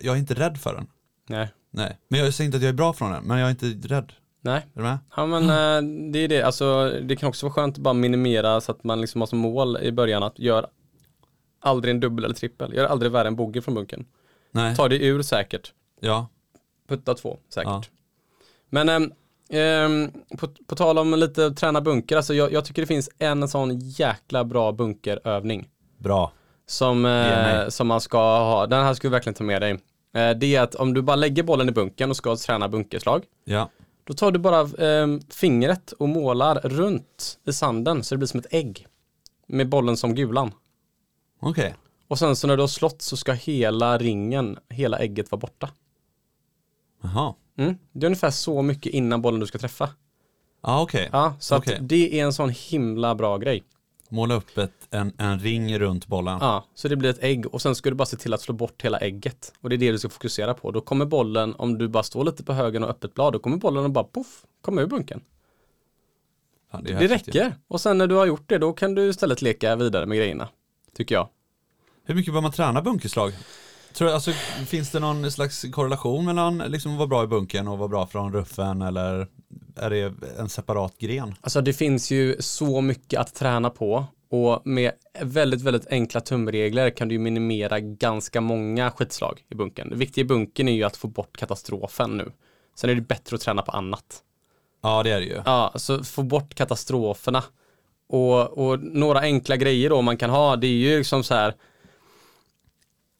Speaker 1: jag är inte rädd för den.
Speaker 2: Nej.
Speaker 1: Nej, men jag säger inte att jag är bra från den, men jag är inte rädd.
Speaker 2: Nej.
Speaker 1: Är du med?
Speaker 2: Ja men
Speaker 1: Mm.
Speaker 2: eh, det är det, alltså det kan också vara skönt att bara minimera så att man liksom har som mål i början att gör aldrig en dubbel eller trippel, gör aldrig värre än bogey från bunken.
Speaker 1: Nej,
Speaker 2: Ta dig ur säkert,
Speaker 1: ja.
Speaker 2: putta två säkert.
Speaker 1: Ja.
Speaker 2: Men ehm, ehm, på, på tal om lite träna bunker, alltså jag, jag tycker det finns en sån jäkla bra bunkerövning
Speaker 1: Bra.
Speaker 2: som,
Speaker 1: Ge
Speaker 2: eh,
Speaker 1: mig.
Speaker 2: som man ska ha, den här ska du verkligen ta med dig. Eh, det är att om du bara lägger bollen i bunkern och ska träna bunkerslag,
Speaker 1: Ja.
Speaker 2: då tar du bara ehm, fingret och målar runt i sanden så det blir som ett ägg. Med bollen som gulan.
Speaker 1: Okej.
Speaker 2: Och sen så när du har slått så ska hela ringen, hela ägget vara borta.
Speaker 1: Jaha.
Speaker 2: Mm. Det är ungefär så mycket innan bollen du ska träffa.
Speaker 1: Ja, okej.
Speaker 2: Ja, så
Speaker 1: Okej.
Speaker 2: att det är en sån himla bra grej.
Speaker 1: Måla upp ett, en, en ring runt bollen.
Speaker 2: Ja, så det blir ett ägg och sen ska du bara se till att slå bort hela ägget. Och det är det du ska fokusera på. Då kommer bollen, om du bara står lite på högen och öppet blad, då kommer bollen och bara poff, komma ur bunken.
Speaker 1: Fan,
Speaker 2: Det
Speaker 1: häftigt ju.
Speaker 2: räcker. Och sen när du har gjort det, då kan du istället leka vidare med grejerna. Tycker jag.
Speaker 1: Hur mycket bör man träna bunkerslag? Tror, jag- alltså, finns det någon slags korrelation mellan liksom, att vara bra i bunkern och vara bra från ruffen eller är det en separat gren?
Speaker 2: Alltså det finns ju så mycket att träna på och med väldigt, väldigt enkla tumregler kan du ju minimera ganska många skitslag i bunkern. Det viktiga i bunkern är ju att få bort katastrofen nu. Sen är det bättre att träna på annat.
Speaker 1: Ja det är det ju.
Speaker 2: Ja, så få bort katastroferna. Och, och några enkla grejer då man kan ha, det är ju liksom så här.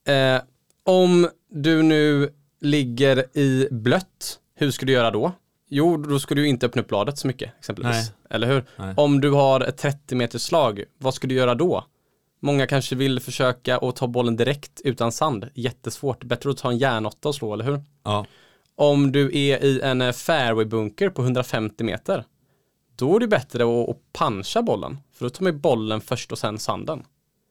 Speaker 2: Eh, om du nu ligger i blött, hur ska du göra då? Jo, då ska du ju inte öppna upp bladet så mycket exempelvis.
Speaker 1: Nej.
Speaker 2: Eller hur?
Speaker 1: Nej.
Speaker 2: Om du har ett 30 meters slag, vad ska du göra då? Många kanske vill försöka att ta bollen direkt utan sand. Jättesvårt. Bättre att ta en järnåtta och slå, eller hur?
Speaker 1: Ja.
Speaker 2: Om du är i en eh, fairwaybunker på 150 meter, då är det bättre att, att puncha bollen. För då tar man ju bollen först och sen sanden.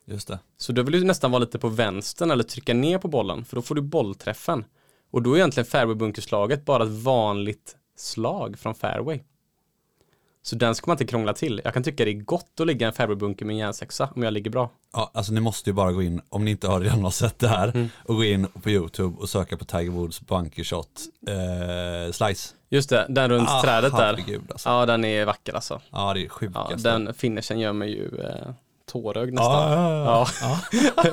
Speaker 1: Just det.
Speaker 2: Så då vill du nästan vara lite på vänstern eller trycka ner på bollen, för då får du bollträffen. Och då är egentligen fairwaybunkerslaget bara ett vanligt slag från fairway. Så den ska man inte krångla till. Jag kan tycka det är gott att ligga i en fairwaybunker med en järnsexa om jag ligger bra.
Speaker 1: Ja, alltså ni måste ju bara gå in, om ni inte har redan har sett det här,
Speaker 2: Mm.
Speaker 1: och gå in på YouTube och söka på Tiger Woods bunker shot eh, slice.
Speaker 2: Just det, den runt
Speaker 1: Ah,
Speaker 2: trädet där.
Speaker 1: herregud, alltså.
Speaker 2: Ja, den är vacker alltså.
Speaker 1: Ja det är
Speaker 2: Ja,
Speaker 1: sjukast.
Speaker 2: den finishen gör mig ju eh, tårögd nästan.
Speaker 1: Ja, ja, ja.
Speaker 2: Ja. <laughs>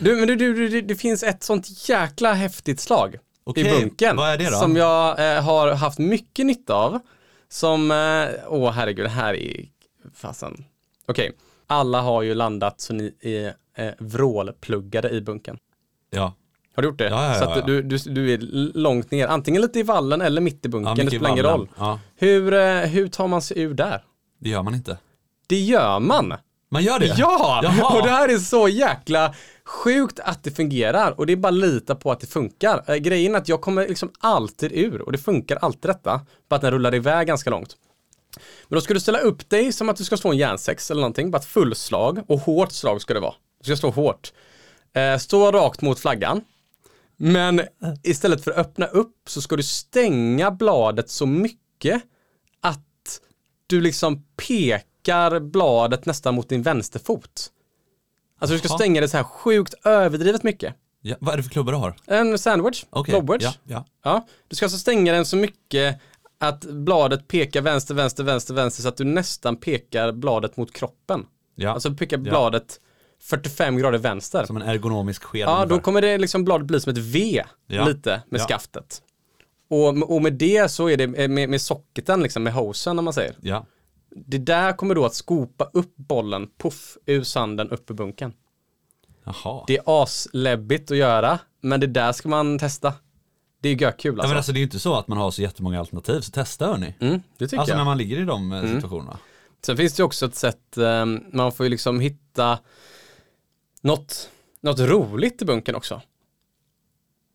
Speaker 2: du, men du, du, du, det- det finns ett sånt jäkla häftigt slag i
Speaker 1: Okej,
Speaker 2: bunken.
Speaker 1: vad är det då?
Speaker 2: Som jag eh, har haft mycket nytta av. Som, eh, åh herregud, det här är fasen. Okej, alla har ju landat så ni är eh, vrålpluggade i bunken.
Speaker 1: ja.
Speaker 2: Har du gjort det?
Speaker 1: Ja, ja, ja,
Speaker 2: så att du, du, du är långt ner, antingen lite i vallen eller mitt i bunken, det
Speaker 1: mycket
Speaker 2: spelar ingen
Speaker 1: vallen.
Speaker 2: roll.
Speaker 1: Ja,
Speaker 2: Hur, eh, hur tar man sig ur där?
Speaker 1: det gör man inte.
Speaker 2: Det gör man!
Speaker 1: Man gör det?
Speaker 2: Ja!
Speaker 1: Jaha.
Speaker 2: Och det här är så jäkla sjukt att det fungerar och det är bara att lita på att det funkar. Eh, grejen är att jag kommer liksom alltid ur och det funkar alltid detta. Bara att den rullar iväg ganska långt. Men då ska du ställa upp dig som att du ska slå en järnsex eller någonting. Bara ett fullslag och hårt slag ska det vara. Du ska slå hårt. Eh, Stå rakt mot flaggan. Men istället för att öppna upp så ska du stänga bladet så mycket att du liksom pekar bladet nästan mot din vänsterfot. Alltså du ska
Speaker 1: Jaha.
Speaker 2: stänga det så här sjukt överdrivet mycket.
Speaker 1: Ja, vad är det för klubbar du har?
Speaker 2: En sandwich,
Speaker 1: Okej,
Speaker 2: blobwedge.
Speaker 1: ja, ja.
Speaker 2: Ja, du ska alltså stänga den så mycket att bladet pekar vänster, vänster, vänster, vänster så att du nästan pekar bladet mot kroppen.
Speaker 1: Ja.
Speaker 2: Alltså pekar bladet 45 grader vänster.
Speaker 1: Som en ergonomisk sked
Speaker 2: Ja, då
Speaker 1: ungefär.
Speaker 2: kommer det liksom bladet bli som ett V
Speaker 1: Ja.
Speaker 2: lite med
Speaker 1: Ja.
Speaker 2: skaftet. Och, och med det så är det eh, med, med socketen, liksom, med hosen om man säger.
Speaker 1: Ja.
Speaker 2: Det där kommer då att skopa upp bollen, puff, ur sanden, upp i bunken.
Speaker 1: Jaha.
Speaker 2: Det är asläbbigt att göra, men det där ska man testa. Det är görkul
Speaker 1: Ja,
Speaker 2: alltså.
Speaker 1: men alltså, det är ju inte så att man har så jättemånga alternativ, så testa hörni.
Speaker 2: Mm, det
Speaker 1: Alltså
Speaker 2: tycker jag. Mm.
Speaker 1: när man ligger i de eh, situationerna.
Speaker 2: Sen finns det ju också ett sätt, eh, man får ju liksom hitta något, något roligt i bunken också.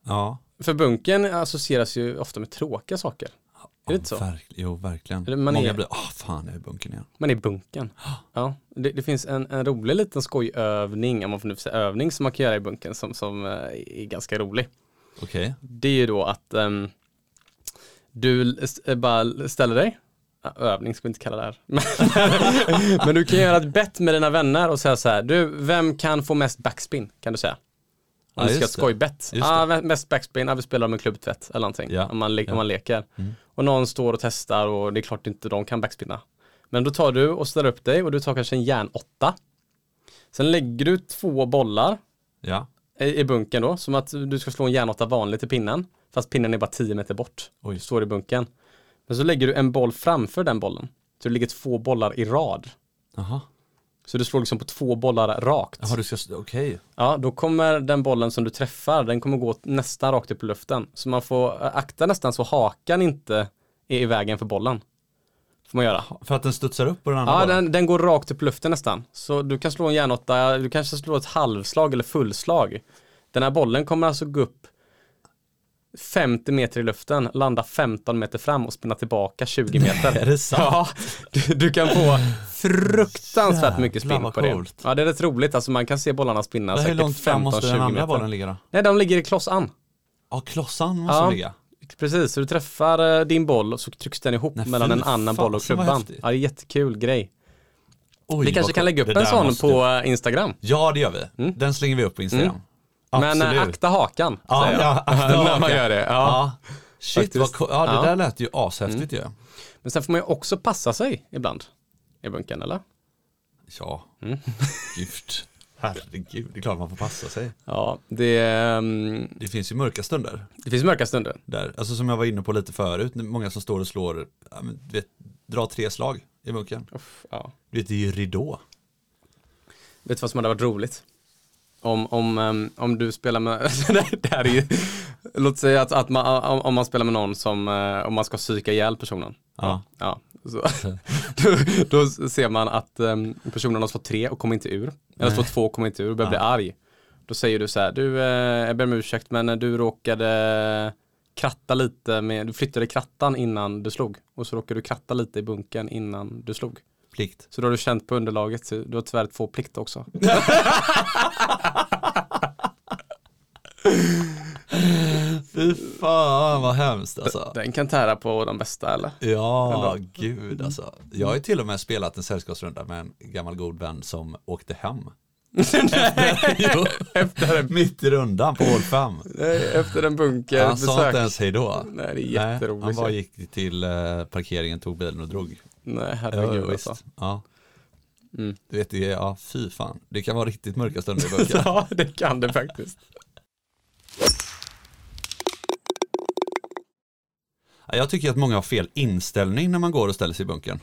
Speaker 1: Ja.
Speaker 2: För bunken associeras ju ofta med tråkiga saker. Är det inte så?
Speaker 1: Ja, verk- jo, verkligen.
Speaker 2: Eller man
Speaker 1: Många
Speaker 2: är-
Speaker 1: blir, ah fan, jag är i bunkern igen.
Speaker 2: Men i bunken. Ja, det, det finns en, en rolig liten skojövning, om man får nu säga övning, som man kan göra i bunken som, som eh, är ganska rolig.
Speaker 1: Okej.
Speaker 2: Det är ju då att ehm, du l- s- eh, bara ställer dig, Ja, övning ska vi inte kalla det här, <laughs> Men- men du kan göra ett bett med dina vänner och säga så här, du, vem kan få mest backspin? Kan du säga.
Speaker 1: Ja,
Speaker 2: Om du ska ha ett
Speaker 1: just det.
Speaker 2: skojbett.
Speaker 1: Just
Speaker 2: Ah, vem- mest backspin, ah, vi spelar om en klubbtvätt eller någonting.
Speaker 1: Ja, Mm.
Speaker 2: Om, man le- om man leker. Och någon står och testar och det är klart inte de kan backspinna. Men då tar du och ställer upp dig och du tar kanske en järnåtta. Sen lägger du två bollar
Speaker 1: Ja.
Speaker 2: i, i bunken då, som att du ska slå en järnåtta vanligt i pinnen, fast pinnen är bara 10 meter bort.
Speaker 1: Oj.
Speaker 2: Du står i bunken. Men så lägger du en boll framför den bollen, så det ligger två bollar i rad.
Speaker 1: Jaha.
Speaker 2: Så du slår liksom på två bollar rakt.
Speaker 1: Jaha, du ska, s- okej.
Speaker 2: Ja, då kommer den bollen som du träffar, den kommer gå nästan rakt upp i luften. Så man får eh, akta nästan så hakan inte är i vägen för bollen. Får man göra.
Speaker 1: För att den studsar upp på den andra
Speaker 2: Ja,
Speaker 1: bollen?
Speaker 2: den, den går rakt upp i luften nästan. Så du kan slå en järnåtta, du kanske slår ett halvslag eller fullslag. Den här bollen kommer alltså gå upp 50 meter i luften, landa 15 meter fram och spinna tillbaka 20 meter.
Speaker 1: Är det sant?
Speaker 2: Ja, du, du kan
Speaker 1: <laughs>
Speaker 2: få fruktansvärt mycket
Speaker 1: Jävlar,
Speaker 2: spinn
Speaker 1: vad
Speaker 2: på det.
Speaker 1: coolt.
Speaker 2: Ja, det är rätt roligt. Alltså man kan se bollarna spinna
Speaker 1: Men Hur
Speaker 2: säkert
Speaker 1: långt fram måste den
Speaker 2: 15-20
Speaker 1: andra
Speaker 2: meter.
Speaker 1: bollen ligga då?
Speaker 2: Nej, de ligger i klossan.
Speaker 1: Ja, klossan måste
Speaker 2: Ja.
Speaker 1: ligga.
Speaker 2: Precis, så du träffar eh, din boll och så trycks den ihop
Speaker 1: Nej,
Speaker 2: mellan
Speaker 1: fy
Speaker 2: en annan boll och
Speaker 1: fasen, vad
Speaker 2: klubban.
Speaker 1: häftigt.
Speaker 2: Ja, det är jättekul grej.
Speaker 1: Oj,
Speaker 2: Vi kanske
Speaker 1: vad
Speaker 2: kan
Speaker 1: coolt.
Speaker 2: lägga upp
Speaker 1: Det
Speaker 2: en
Speaker 1: där
Speaker 2: sån
Speaker 1: måste-
Speaker 2: på eh, Instagram.
Speaker 1: Ja, det gör vi. Den slänger vi upp på Instagram. Absolut.
Speaker 2: Men eh, akta hakan.
Speaker 1: Ja,
Speaker 2: säger jag.
Speaker 1: ja, akta
Speaker 2: <laughs> När man
Speaker 1: hakan.
Speaker 2: gör det. Ja.
Speaker 1: Ja. Shit, vad
Speaker 2: Faktiskt.
Speaker 1: coolt. Ja, det
Speaker 2: Ja. Mm.
Speaker 1: där lät ju ashäftigt ju.
Speaker 2: Men sen får man ju också passa sig ibland i bunkern, eller?
Speaker 1: Ja. <laughs> Gud. Mm. Herregud, det är klart man får passa sig.
Speaker 2: Ja, det, ehm,
Speaker 1: Det finns ju mörka stunder
Speaker 2: det finns mörka stunder.
Speaker 1: där. Alltså som jag var inne på lite förut, många som står och slår, ja, men, du vet, drar tre slag i bunkern.
Speaker 2: Uff, ja.
Speaker 1: Du vet, det är ju ridå.
Speaker 2: Vet du vad som hade varit roligt? Om, om, ehm, om du spelar med, <laughs> Nej, det här är ju, låt säga att, att man, om, om man spelar med någon som, eh, om man ska psyka ihjäl personen.
Speaker 1: Ja.
Speaker 2: Ja, så. <laughs> då, då ser man att ehm, personen har slått tre och kommer inte ur. Eller slått två och kommer inte ur och börjar bli arg. Då säger du så här, du, eh, jag ber om ursäkt men eh, du råkade kratta lite med, du flyttade krattan innan du slog. Och så råkade du kratta lite i bunken innan du slog.
Speaker 1: Plikt.
Speaker 2: Så då har du känt på underlaget, så du har tyvärr två plikt också.
Speaker 1: Fy fan vad hemskt alltså.
Speaker 2: Den kan tära på de bästa eller?
Speaker 1: Ja, gud alltså. Jag har ju till och med spelat en sällskapsrunda med en gammal god vän som åkte <laughs> hem. <laughs> jo,
Speaker 2: Efter en,
Speaker 1: mitt i rundan på hål fem.
Speaker 2: nej, efter en bunker
Speaker 1: Han sa inte
Speaker 2: besök.
Speaker 1: ens hej då.
Speaker 2: Nej, det är jätteroligt
Speaker 1: han bara
Speaker 2: ju.
Speaker 1: gick till eh, parkeringen, tog bilen och drog.
Speaker 2: Nej,
Speaker 1: Ja,
Speaker 2: herregud
Speaker 1: ja, visst.
Speaker 2: alltså.
Speaker 1: Ja.
Speaker 2: Mm.
Speaker 1: Du vet, det är, ja, fy fan. Det kan vara riktigt mörka stunder i
Speaker 2: <laughs>
Speaker 1: böcker.
Speaker 2: Ja, det kan det faktiskt.
Speaker 1: Ja, Jag tycker att många har fel inställning när man går och ställer sig i bunkern.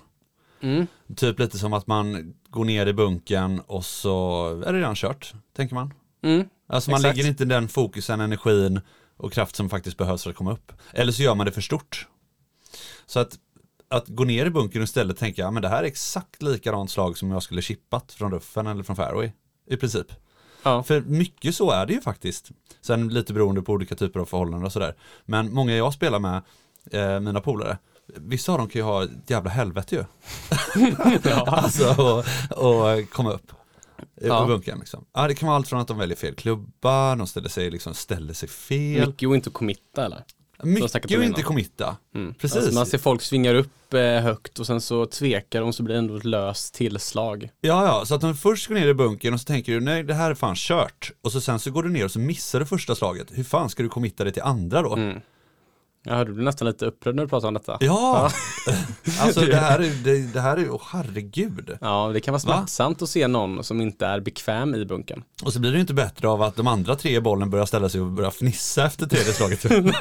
Speaker 2: Mm.
Speaker 1: Typ lite som att man går ner i bunkern och så är det redan kört, tänker man.
Speaker 2: Mm.
Speaker 1: Alltså man
Speaker 2: Exakt.
Speaker 1: lägger inte den fokusen, energin och kraft som faktiskt behövs för att komma upp. Eller så gör man det för stort. Så att, att gå ner i bunkern och istället tänka, ja men det här är exakt likadant slag som jag skulle chippat från ruffen eller från fairway. I princip.
Speaker 2: Ja.
Speaker 1: För mycket så är det ju faktiskt. Sen lite beroende på olika typer av förhållanden och sådär. Men många jag spelar med, eh, mina polare, vissa av dem kan <laughs>
Speaker 2: <laughs>
Speaker 1: ju ha ett jävla helvete ju. alltså, och, och komma upp. i
Speaker 2: Ja.
Speaker 1: på bunkern. Liksom. Ja, det kan vara allt från att de väljer fel klubba, de ställer sig, liksom, ställer sig fel.
Speaker 2: Mycket och inte committa eller? har
Speaker 1: Mycket
Speaker 2: snackat
Speaker 1: är
Speaker 2: om
Speaker 1: ju
Speaker 2: innan.
Speaker 1: inte committa. Precis.
Speaker 2: Alltså, man ser folk svingar upp eh, högt och sen så tvekar de så blir det ändå ett löst tillslag.
Speaker 1: Ja, ja, så att de först går ner i bunkern och så tänker du nej det här är fan kört. Och så sen så går du ner och så missar du första slaget. Hur fan ska du committa dig till andra då?
Speaker 2: Mm. Ja, du blir nästan lite upprörd när du pratar om detta.
Speaker 1: Ja, <laughs> alltså det här är, det, det här är, åh herregud.
Speaker 2: Ja, det kan vara smärtsamt att se någon som inte är bekväm i bunken.
Speaker 1: Och så blir det ju inte bättre av att de andra tre i bollen börjar ställa sig och börjar fnissa efter tredje slaget.
Speaker 2: <laughs>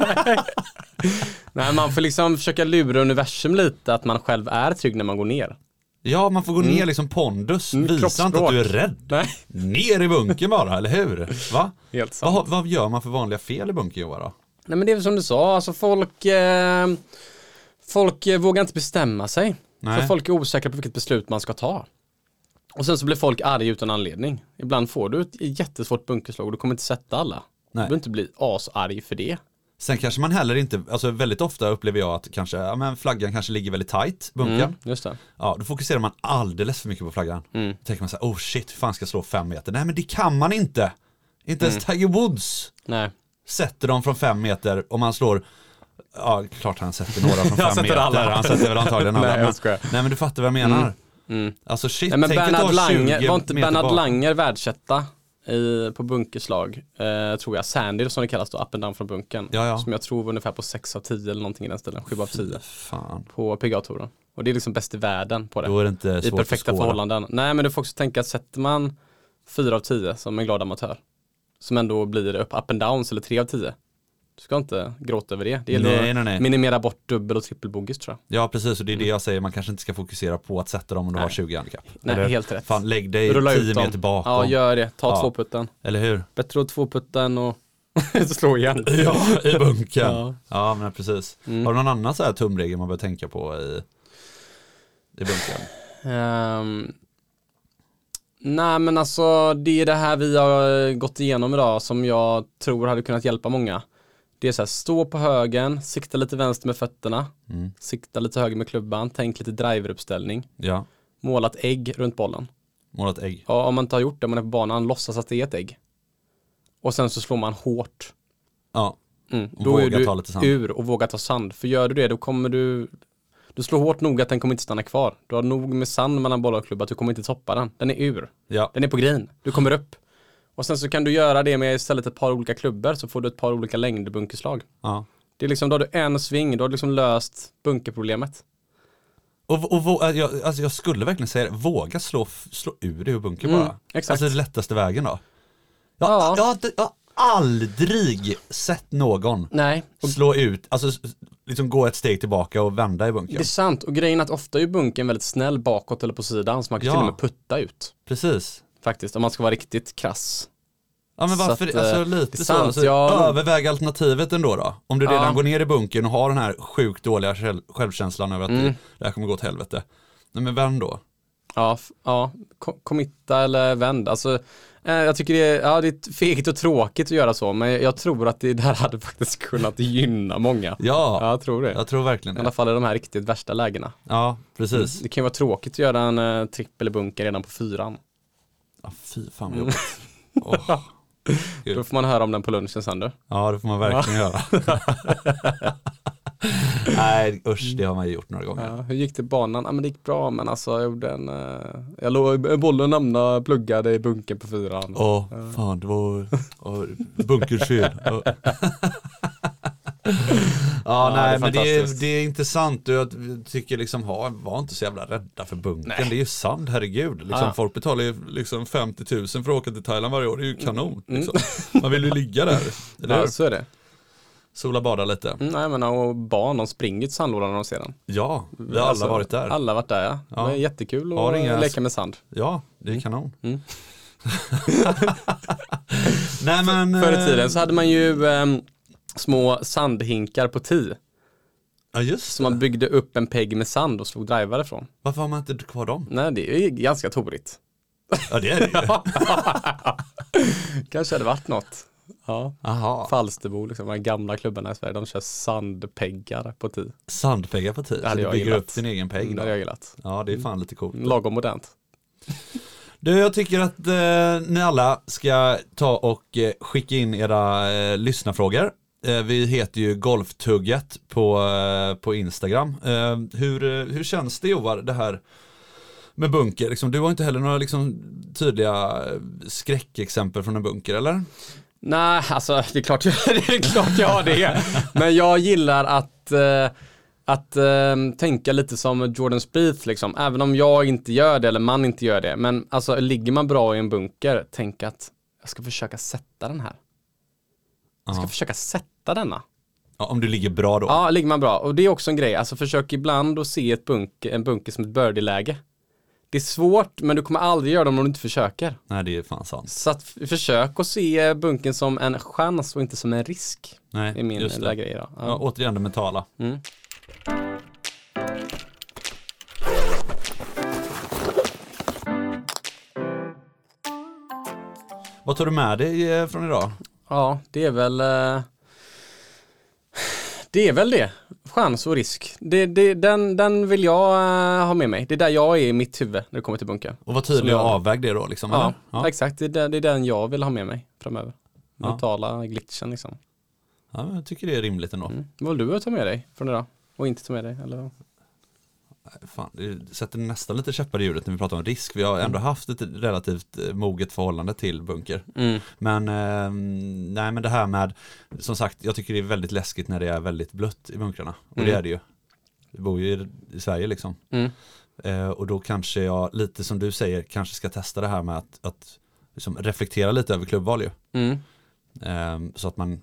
Speaker 2: Nej, man får liksom försöka lura universum lite att man själv är trygg när man går ner.
Speaker 1: ja, man får gå ner liksom pondus.
Speaker 2: Mm,
Speaker 1: Visa inte att du är
Speaker 2: kroppsspråk.
Speaker 1: rädd.
Speaker 2: Nej,
Speaker 1: Ner i bunkern bara, eller hur? Va?
Speaker 2: helt
Speaker 1: Vad,
Speaker 2: sant.
Speaker 1: har- vad gör man för vanliga fel i bunkern Johan då?
Speaker 2: Nej, men det är väl som du sa, alltså folk, eh, folk eh, vågar inte bestämma sig.
Speaker 1: Nej.
Speaker 2: För folk är osäkra på vilket beslut man ska ta. Och sen så blir folk arga utan anledning. Ibland får du ett jättesvårt bunkerslag och du kommer inte sätta alla. Du
Speaker 1: Nej.
Speaker 2: behöver inte bli asarg för det.
Speaker 1: Sen kanske man heller inte, alltså väldigt ofta upplever jag att kanske, ja men flaggan kanske ligger väldigt tight, bunkern.
Speaker 2: Mm, just det.
Speaker 1: Ja, då fokuserar man alldeles för mycket på flaggan. Då tänker man så här, oh shit, hur fan ska jag slå fem meter? Nej men det kan man inte! Inte ens
Speaker 2: Mm.
Speaker 1: Tiger Woods
Speaker 2: Nej.
Speaker 1: sätter dem från fem meter om man slår Ja, klart han sätter några
Speaker 2: <laughs>
Speaker 1: från
Speaker 2: Han
Speaker 1: fem
Speaker 2: sätter
Speaker 1: meter.
Speaker 2: alla.
Speaker 1: Han sätter väl
Speaker 2: <laughs>
Speaker 1: antagligen alla.
Speaker 2: Nej, jag
Speaker 1: men-
Speaker 2: skojar. Mm.
Speaker 1: nej men du fattar vad jag menar. Alltså shit,
Speaker 2: Nej men
Speaker 1: tänk att
Speaker 2: Bernhard
Speaker 1: ha 20
Speaker 2: Langer, var inte
Speaker 1: meter
Speaker 2: Bernhard
Speaker 1: bak.
Speaker 2: Langer världsetta i, på bunkerslag? Eh, tror jag. Sandy som det kallas då, up and down från bunkern.
Speaker 1: Ja, ja.
Speaker 2: Som jag tror var ungefär på 6 av 10 eller någonting i den stilen, 7 av 10
Speaker 1: Fan,
Speaker 2: på PGA-touren. Och det är liksom bäst i världen på det.
Speaker 1: då är det inte
Speaker 2: I
Speaker 1: svårt
Speaker 2: perfekta
Speaker 1: att skåra.
Speaker 2: förhållanden. Nej men du får också tänka att sätter man 4 av 10 som en glad amatör, som ändå blir upp, up and downs eller 3 av 10, du ska inte gråta över det. Det gäller
Speaker 1: Nej,
Speaker 2: att
Speaker 1: nej, nej.
Speaker 2: minimera bort dubbel och trippelbogeys tror
Speaker 1: Ja precis, och det är det jag säger, man kanske inte ska fokusera på att sätta dem om du har 20 handikapp.
Speaker 2: Mm. Nej,
Speaker 1: Eller,
Speaker 2: helt rätt.
Speaker 1: Fan, lägg
Speaker 2: jag.
Speaker 1: dig 10 meter bakom.
Speaker 2: Ja, gör det. Ta
Speaker 1: Ja.
Speaker 2: tvåputten.
Speaker 1: Eller hur?
Speaker 2: Bättre att tvåputta än att <laughs> slå igen.
Speaker 1: Ja, i bunkern. Ja,
Speaker 2: <laughs> Ja. Mm.
Speaker 1: men precis. Har du någon annan så här tumregel man bör tänka på i, i bunkern?
Speaker 2: Ehm, nej men alltså det är det här vi har eh, gått igenom idag som jag tror hade kunnat hjälpa många. Det är så här, stå på högen, sikta lite vänster med fötterna,
Speaker 1: Mm.
Speaker 2: sikta lite höger med klubban, tänk lite driveruppställning,
Speaker 1: Ja,
Speaker 2: måla ett ägg runt bollen.
Speaker 1: målat ägg.
Speaker 2: Ja, om man inte har gjort det, man är på banan, låtsas att det är ett ägg. Och sen så slår man hårt.
Speaker 1: Ja,
Speaker 2: Mm.
Speaker 1: Och
Speaker 2: Då är
Speaker 1: våga ta lite sand.
Speaker 2: du ur och våga ta sand. För gör du det, då kommer du du slår hårt nog att den kommer inte stanna kvar. Du har nog med sand mellan bollar och klubba, att du kommer inte toppa den. Den är ur.
Speaker 1: ja,
Speaker 2: Den är på green. Du kommer upp. Och sen så kan du göra det med istället ett par olika klubbor så får du ett par olika längdbunkerslag.
Speaker 1: ja.
Speaker 2: Det är liksom, då har du en sving, då har du liksom löst bunkerproblemet.
Speaker 1: Och, och, vå- äh, jag, alltså jag skulle verkligen säga det, våga slå, f- slå ur det ur bunkern
Speaker 2: Mm,
Speaker 1: bara.
Speaker 2: exakt.
Speaker 1: Alltså det lättaste vägen då. Jag, ja.
Speaker 2: Ja.
Speaker 1: jag, har inte- jag har aldrig sett någon
Speaker 2: Nej, och
Speaker 1: slå ut, alltså s- liksom gå ett steg tillbaka och vända i bunkern.
Speaker 2: det är sant. Och grejen är att ofta är bunkern väldigt snäll bakåt eller på sidan så man kan
Speaker 1: Ja.
Speaker 2: till och med putta ut.
Speaker 1: Precis.
Speaker 2: Faktiskt, om man ska vara riktigt krass.
Speaker 1: Ja men
Speaker 2: Så
Speaker 1: varför,
Speaker 2: att, eh,
Speaker 1: alltså
Speaker 2: det
Speaker 1: lite
Speaker 2: är
Speaker 1: så,
Speaker 2: sant,
Speaker 1: alltså,
Speaker 2: jag-
Speaker 1: överväg alternativet ändå då. Om du redan
Speaker 2: Ja.
Speaker 1: går ner i bunkern och har den här sjukt dåliga själv- självkänslan över att
Speaker 2: Mm.
Speaker 1: det, det här kommer gå åt helvete. Nej men vem då?
Speaker 2: Ja, f- ja ko- committa eller vänd. Alltså, eh, jag tycker det är, ja, det är fegt och tråkigt att göra så, men jag tror att det där <laughs> hade faktiskt kunnat gynna många.
Speaker 1: Ja,
Speaker 2: Ja, jag tror det.
Speaker 1: jag tror verkligen
Speaker 2: I alla
Speaker 1: det.
Speaker 2: fall i de här riktigt värsta lägena.
Speaker 1: Ja, precis.
Speaker 2: Det kan ju vara tråkigt att göra en eh, trippel i bunker redan på fyran.
Speaker 1: Ja, fy fan
Speaker 2: Mm.
Speaker 1: vad jobbigt. Åh.
Speaker 2: Då får man höra om den på lunchen sen du.
Speaker 1: Ja, det får man verkligen göra.
Speaker 2: <laughs>
Speaker 1: Nej, usch, det har man ju gjort några gånger.
Speaker 2: Ja, hur gick det i banan? Ja men det gick bra men alltså jag gjorde en, eh, jag låg, bollen hamnade pluggade i bunkern på fyran.
Speaker 1: Åh, fan, det var åh, bunkerns fel. Åh. <laughs> ja,
Speaker 2: det är
Speaker 1: nej, men det är,
Speaker 2: fantastiskt.
Speaker 1: det är intressant. Och Jag tycker liksom, ha, var inte så jävla rädda för bunkern. Det är ju sand, herregud. Liksom,
Speaker 2: Ja.
Speaker 1: Folk betalar ju liksom 50 000 för att åka till Thailand varje år. Det är ju
Speaker 2: Mm.
Speaker 1: kanon. Liksom. Man vill ju ligga
Speaker 2: <laughs>
Speaker 1: där. Eller
Speaker 2: Ja,
Speaker 1: hur?
Speaker 2: så är det.
Speaker 1: Sola, bada lite.
Speaker 2: Mm, nej men och barn, de springer till sandlådan när de ser den.
Speaker 1: Ja, vi har alla
Speaker 2: Alltså,
Speaker 1: varit där.
Speaker 2: Alla varit där ja.
Speaker 1: Ja.
Speaker 2: Det är jättekul
Speaker 1: Har
Speaker 2: att
Speaker 1: inga-
Speaker 2: leka med sand.
Speaker 1: Ja, det är
Speaker 2: Mm.
Speaker 1: kanon. <laughs>
Speaker 2: <laughs>
Speaker 1: Nej men...
Speaker 2: Förr
Speaker 1: eh,
Speaker 2: i tiden så hade man ju ehm, små sandhinkar på ti.
Speaker 1: Ja just
Speaker 2: Så man byggde upp en pegg med sand och slog drivare från.
Speaker 1: Varför har man inte kvar dem?
Speaker 2: Nej det är ju ganska torigt.
Speaker 1: Ja det är
Speaker 2: <laughs>
Speaker 1: det ju.
Speaker 2: Kanske hade varit något. Ja.
Speaker 1: Aha.
Speaker 2: Falsterbo, liksom, de här gamla klubbarna i Sverige, de kör sandpeggar på ti.
Speaker 1: Sandpeggar på tid.
Speaker 2: hade
Speaker 1: Så du
Speaker 2: jag
Speaker 1: bygger
Speaker 2: gillat. Mm,
Speaker 1: upp din egen
Speaker 2: Det Mm.
Speaker 1: pegg.
Speaker 2: hade
Speaker 1: Då.
Speaker 2: jag gillat.
Speaker 1: Ja det är fan lite coolt.
Speaker 2: Lagom modernt.
Speaker 1: Du, jag tycker att eh, ni alla ska ta och eh, skicka in era eh, lyssnarfrågor. Eh, vi heter ju Golftugget på, eh, på Instagram. Eh, hur, eh, hur känns det Joar, det här med bunker? Liksom, du har inte heller några liksom, tydliga eh, skräckexempel från en bunker, eller?
Speaker 2: Nej, alltså det är klart jag, <laughs> det är klart jag har det. Men jag gillar att, eh, att eh, tänka lite som Jordan Spieth liksom. Även om jag inte gör det eller man inte gör det. Men alltså ligger man bra i en bunker, tänk att jag ska försöka sätta den här. Jag ska
Speaker 1: Ja.
Speaker 2: försöka sätta denna.
Speaker 1: Ja, om du ligger bra då.
Speaker 2: Ja, ligger man bra. Och det är också en grej. Alltså försök ibland att se ett bunker, en bunker som ett birdie-läge. Det är svårt, men du kommer aldrig göra det om du inte försöker.
Speaker 1: Nej, det är fan sant.
Speaker 2: Så att f- försök att se bunken som en chans och inte som en risk.
Speaker 1: Nej,
Speaker 2: är min
Speaker 1: just det.
Speaker 2: lilla grej då. Ja.
Speaker 1: Ja, återigen det mentala.
Speaker 2: Mm.
Speaker 1: Vad tar du med dig eh, från idag?
Speaker 2: ja, det är väl eh, det är väl det. Chans och risk. Det, det, den, den vill jag eh, ha med mig. Det är där jag är i mitt huvud när det kommer till bunken.
Speaker 1: Och vad tydlig
Speaker 2: Som jag-
Speaker 1: och avvägd det är då liksom?
Speaker 2: Ja,
Speaker 1: eller? ja.
Speaker 2: exakt. Det är, den, det är den jag vill ha med mig framöver.
Speaker 1: Ja.
Speaker 2: Mentala glitchen liksom.
Speaker 1: ja men jag tycker det är rimligt ändå.
Speaker 2: Mm. Vad vill du ta med dig från idag? Och inte ta med dig? Eller?
Speaker 1: Mm. Fan, det sätter nästan lite käppar i hjulet när vi pratar om risk. Vi har
Speaker 2: Mm.
Speaker 1: ändå haft ett relativt eh, moget förhållande till bunker.
Speaker 2: Mm.
Speaker 1: Men, eh, nej, men det här med, som sagt, jag tycker det är väldigt läskigt när det är väldigt blött i bunkrarna. Och det
Speaker 2: Mm.
Speaker 1: är det ju. Vi bor ju i, i Sverige liksom.
Speaker 2: Mm.
Speaker 1: Eh, och då kanske jag, lite som du säger, kanske ska testa det här med att, att liksom reflektera lite över klubbval ju.
Speaker 2: Mm.
Speaker 1: Eh, så att man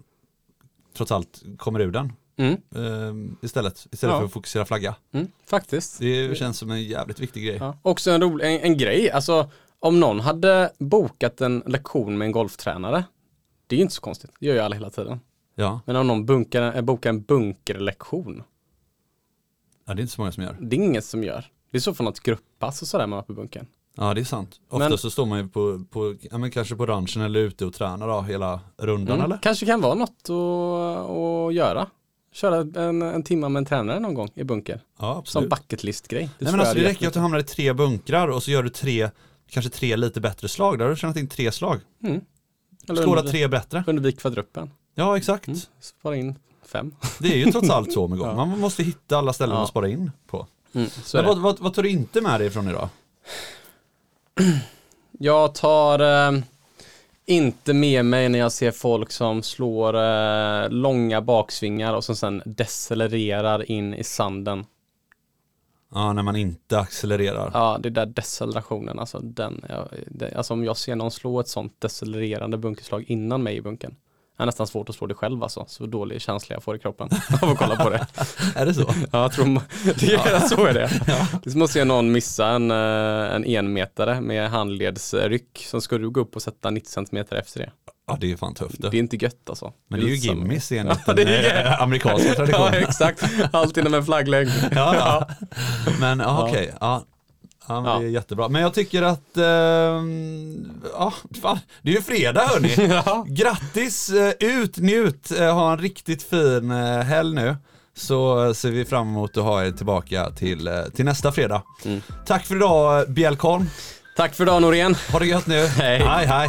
Speaker 1: trots allt kommer ur den
Speaker 2: Mm.
Speaker 1: eh, istället. Istället
Speaker 2: Ja.
Speaker 1: för att fokusera flagga.
Speaker 2: Mm. Faktiskt.
Speaker 1: Det känns som en jävligt viktig grej.
Speaker 2: Ja. Också en, rolig, en, en grej, alltså om någon hade bokat en lektion med en golftränare, det är ju inte så konstigt, det gör ju alla hela tiden.
Speaker 1: Ja,
Speaker 2: Men om någon bunkar, eh, bokar en bunkerlektion,
Speaker 1: ja det är inte så många som gör.
Speaker 2: det är inget som gör. Det är så för något grupppass och sådär man var på bunkern.
Speaker 1: Ja det är sant. Ofta
Speaker 2: Men-
Speaker 1: så står man ju på, på ja, men kanske på ranchen eller ute och tränar då, hela rundan
Speaker 2: Mm.
Speaker 1: eller?
Speaker 2: Kanske kan vara något att, att göra. Köra en, en timma med en tränare någon gång i bunker.
Speaker 1: Ja
Speaker 2: Som
Speaker 1: absolut.
Speaker 2: bucket list-grej.
Speaker 1: Nej, men
Speaker 2: tror
Speaker 1: alltså,
Speaker 2: jag
Speaker 1: det
Speaker 2: är
Speaker 1: räcker ju att du hamnar i tre bunkrar och så gör du tre, kanske tre lite bättre slag. Där har du tjänat in tre slag.
Speaker 2: jätte- Mm. Eller Mm.
Speaker 1: Skåla
Speaker 2: under-
Speaker 1: tre bättre.
Speaker 2: Undervik kvadruppen.
Speaker 1: Ja exakt.
Speaker 2: Spara in fem.
Speaker 1: Det är ju trots allt så
Speaker 2: <laughs>
Speaker 1: med golf. Man måste hitta alla ställen
Speaker 2: Ja.
Speaker 1: att spara in på.
Speaker 2: Mm, <laughs> så är
Speaker 1: Men
Speaker 2: det.
Speaker 1: vad, vad, vad tar du inte med dig ifrån idag?
Speaker 2: Jag tar eh, inte med mig när jag ser folk som slår eh, långa baksvingar och som sen decelererar in i sanden.
Speaker 1: Ja när man inte accelererar.
Speaker 2: Ja, det där decelerationen, alltså den, ja, det, alltså om jag ser någon slå ett sånt decelererande bunkerslag innan mig i bunkern. Det är nästan svårt att slå det själv alltså, så dålig känsla jag får i kroppen <laughs> av att kolla på det.
Speaker 1: Är det
Speaker 2: <laughs>
Speaker 1: så?
Speaker 2: Ja, jag tror ma- <laughs> det är, så
Speaker 1: <laughs>
Speaker 2: är det. Det är som att se någon missa en, eh, en enmetare med handledsryck, som ska du gå upp och sätta 90 cm efter det.
Speaker 1: Ja det är fan tufft
Speaker 2: Det
Speaker 1: det.
Speaker 2: är inte gött alltså.
Speaker 1: Men det är ju
Speaker 2: lite samma.
Speaker 1: gimmis enligt
Speaker 2: Ja, det
Speaker 1: den
Speaker 2: är ju-
Speaker 1: eh, amerikanska
Speaker 2: <laughs> Ja,
Speaker 1: traditionen.
Speaker 2: exakt. Allt inom en
Speaker 1: <laughs>
Speaker 2: flagglängd.
Speaker 1: Ja, ja. Men ja, okej, ja. Ja, men
Speaker 2: Ja.
Speaker 1: det är jättebra. Men jag tycker att, ehm, ja, fan, det är ju fredag
Speaker 2: <laughs>
Speaker 1: hörni.
Speaker 2: Ja.
Speaker 1: Grattis, eh, ut, njut, eh, ha en riktigt fin eh, helg nu. Så eh, ser vi fram emot att ha er tillbaka till, eh, till nästa fredag. Tack för idag eh, Bjelkholm.
Speaker 2: Tack för idag Norén.
Speaker 1: Ha det gött nu.
Speaker 2: Hej.
Speaker 1: Hej, hej.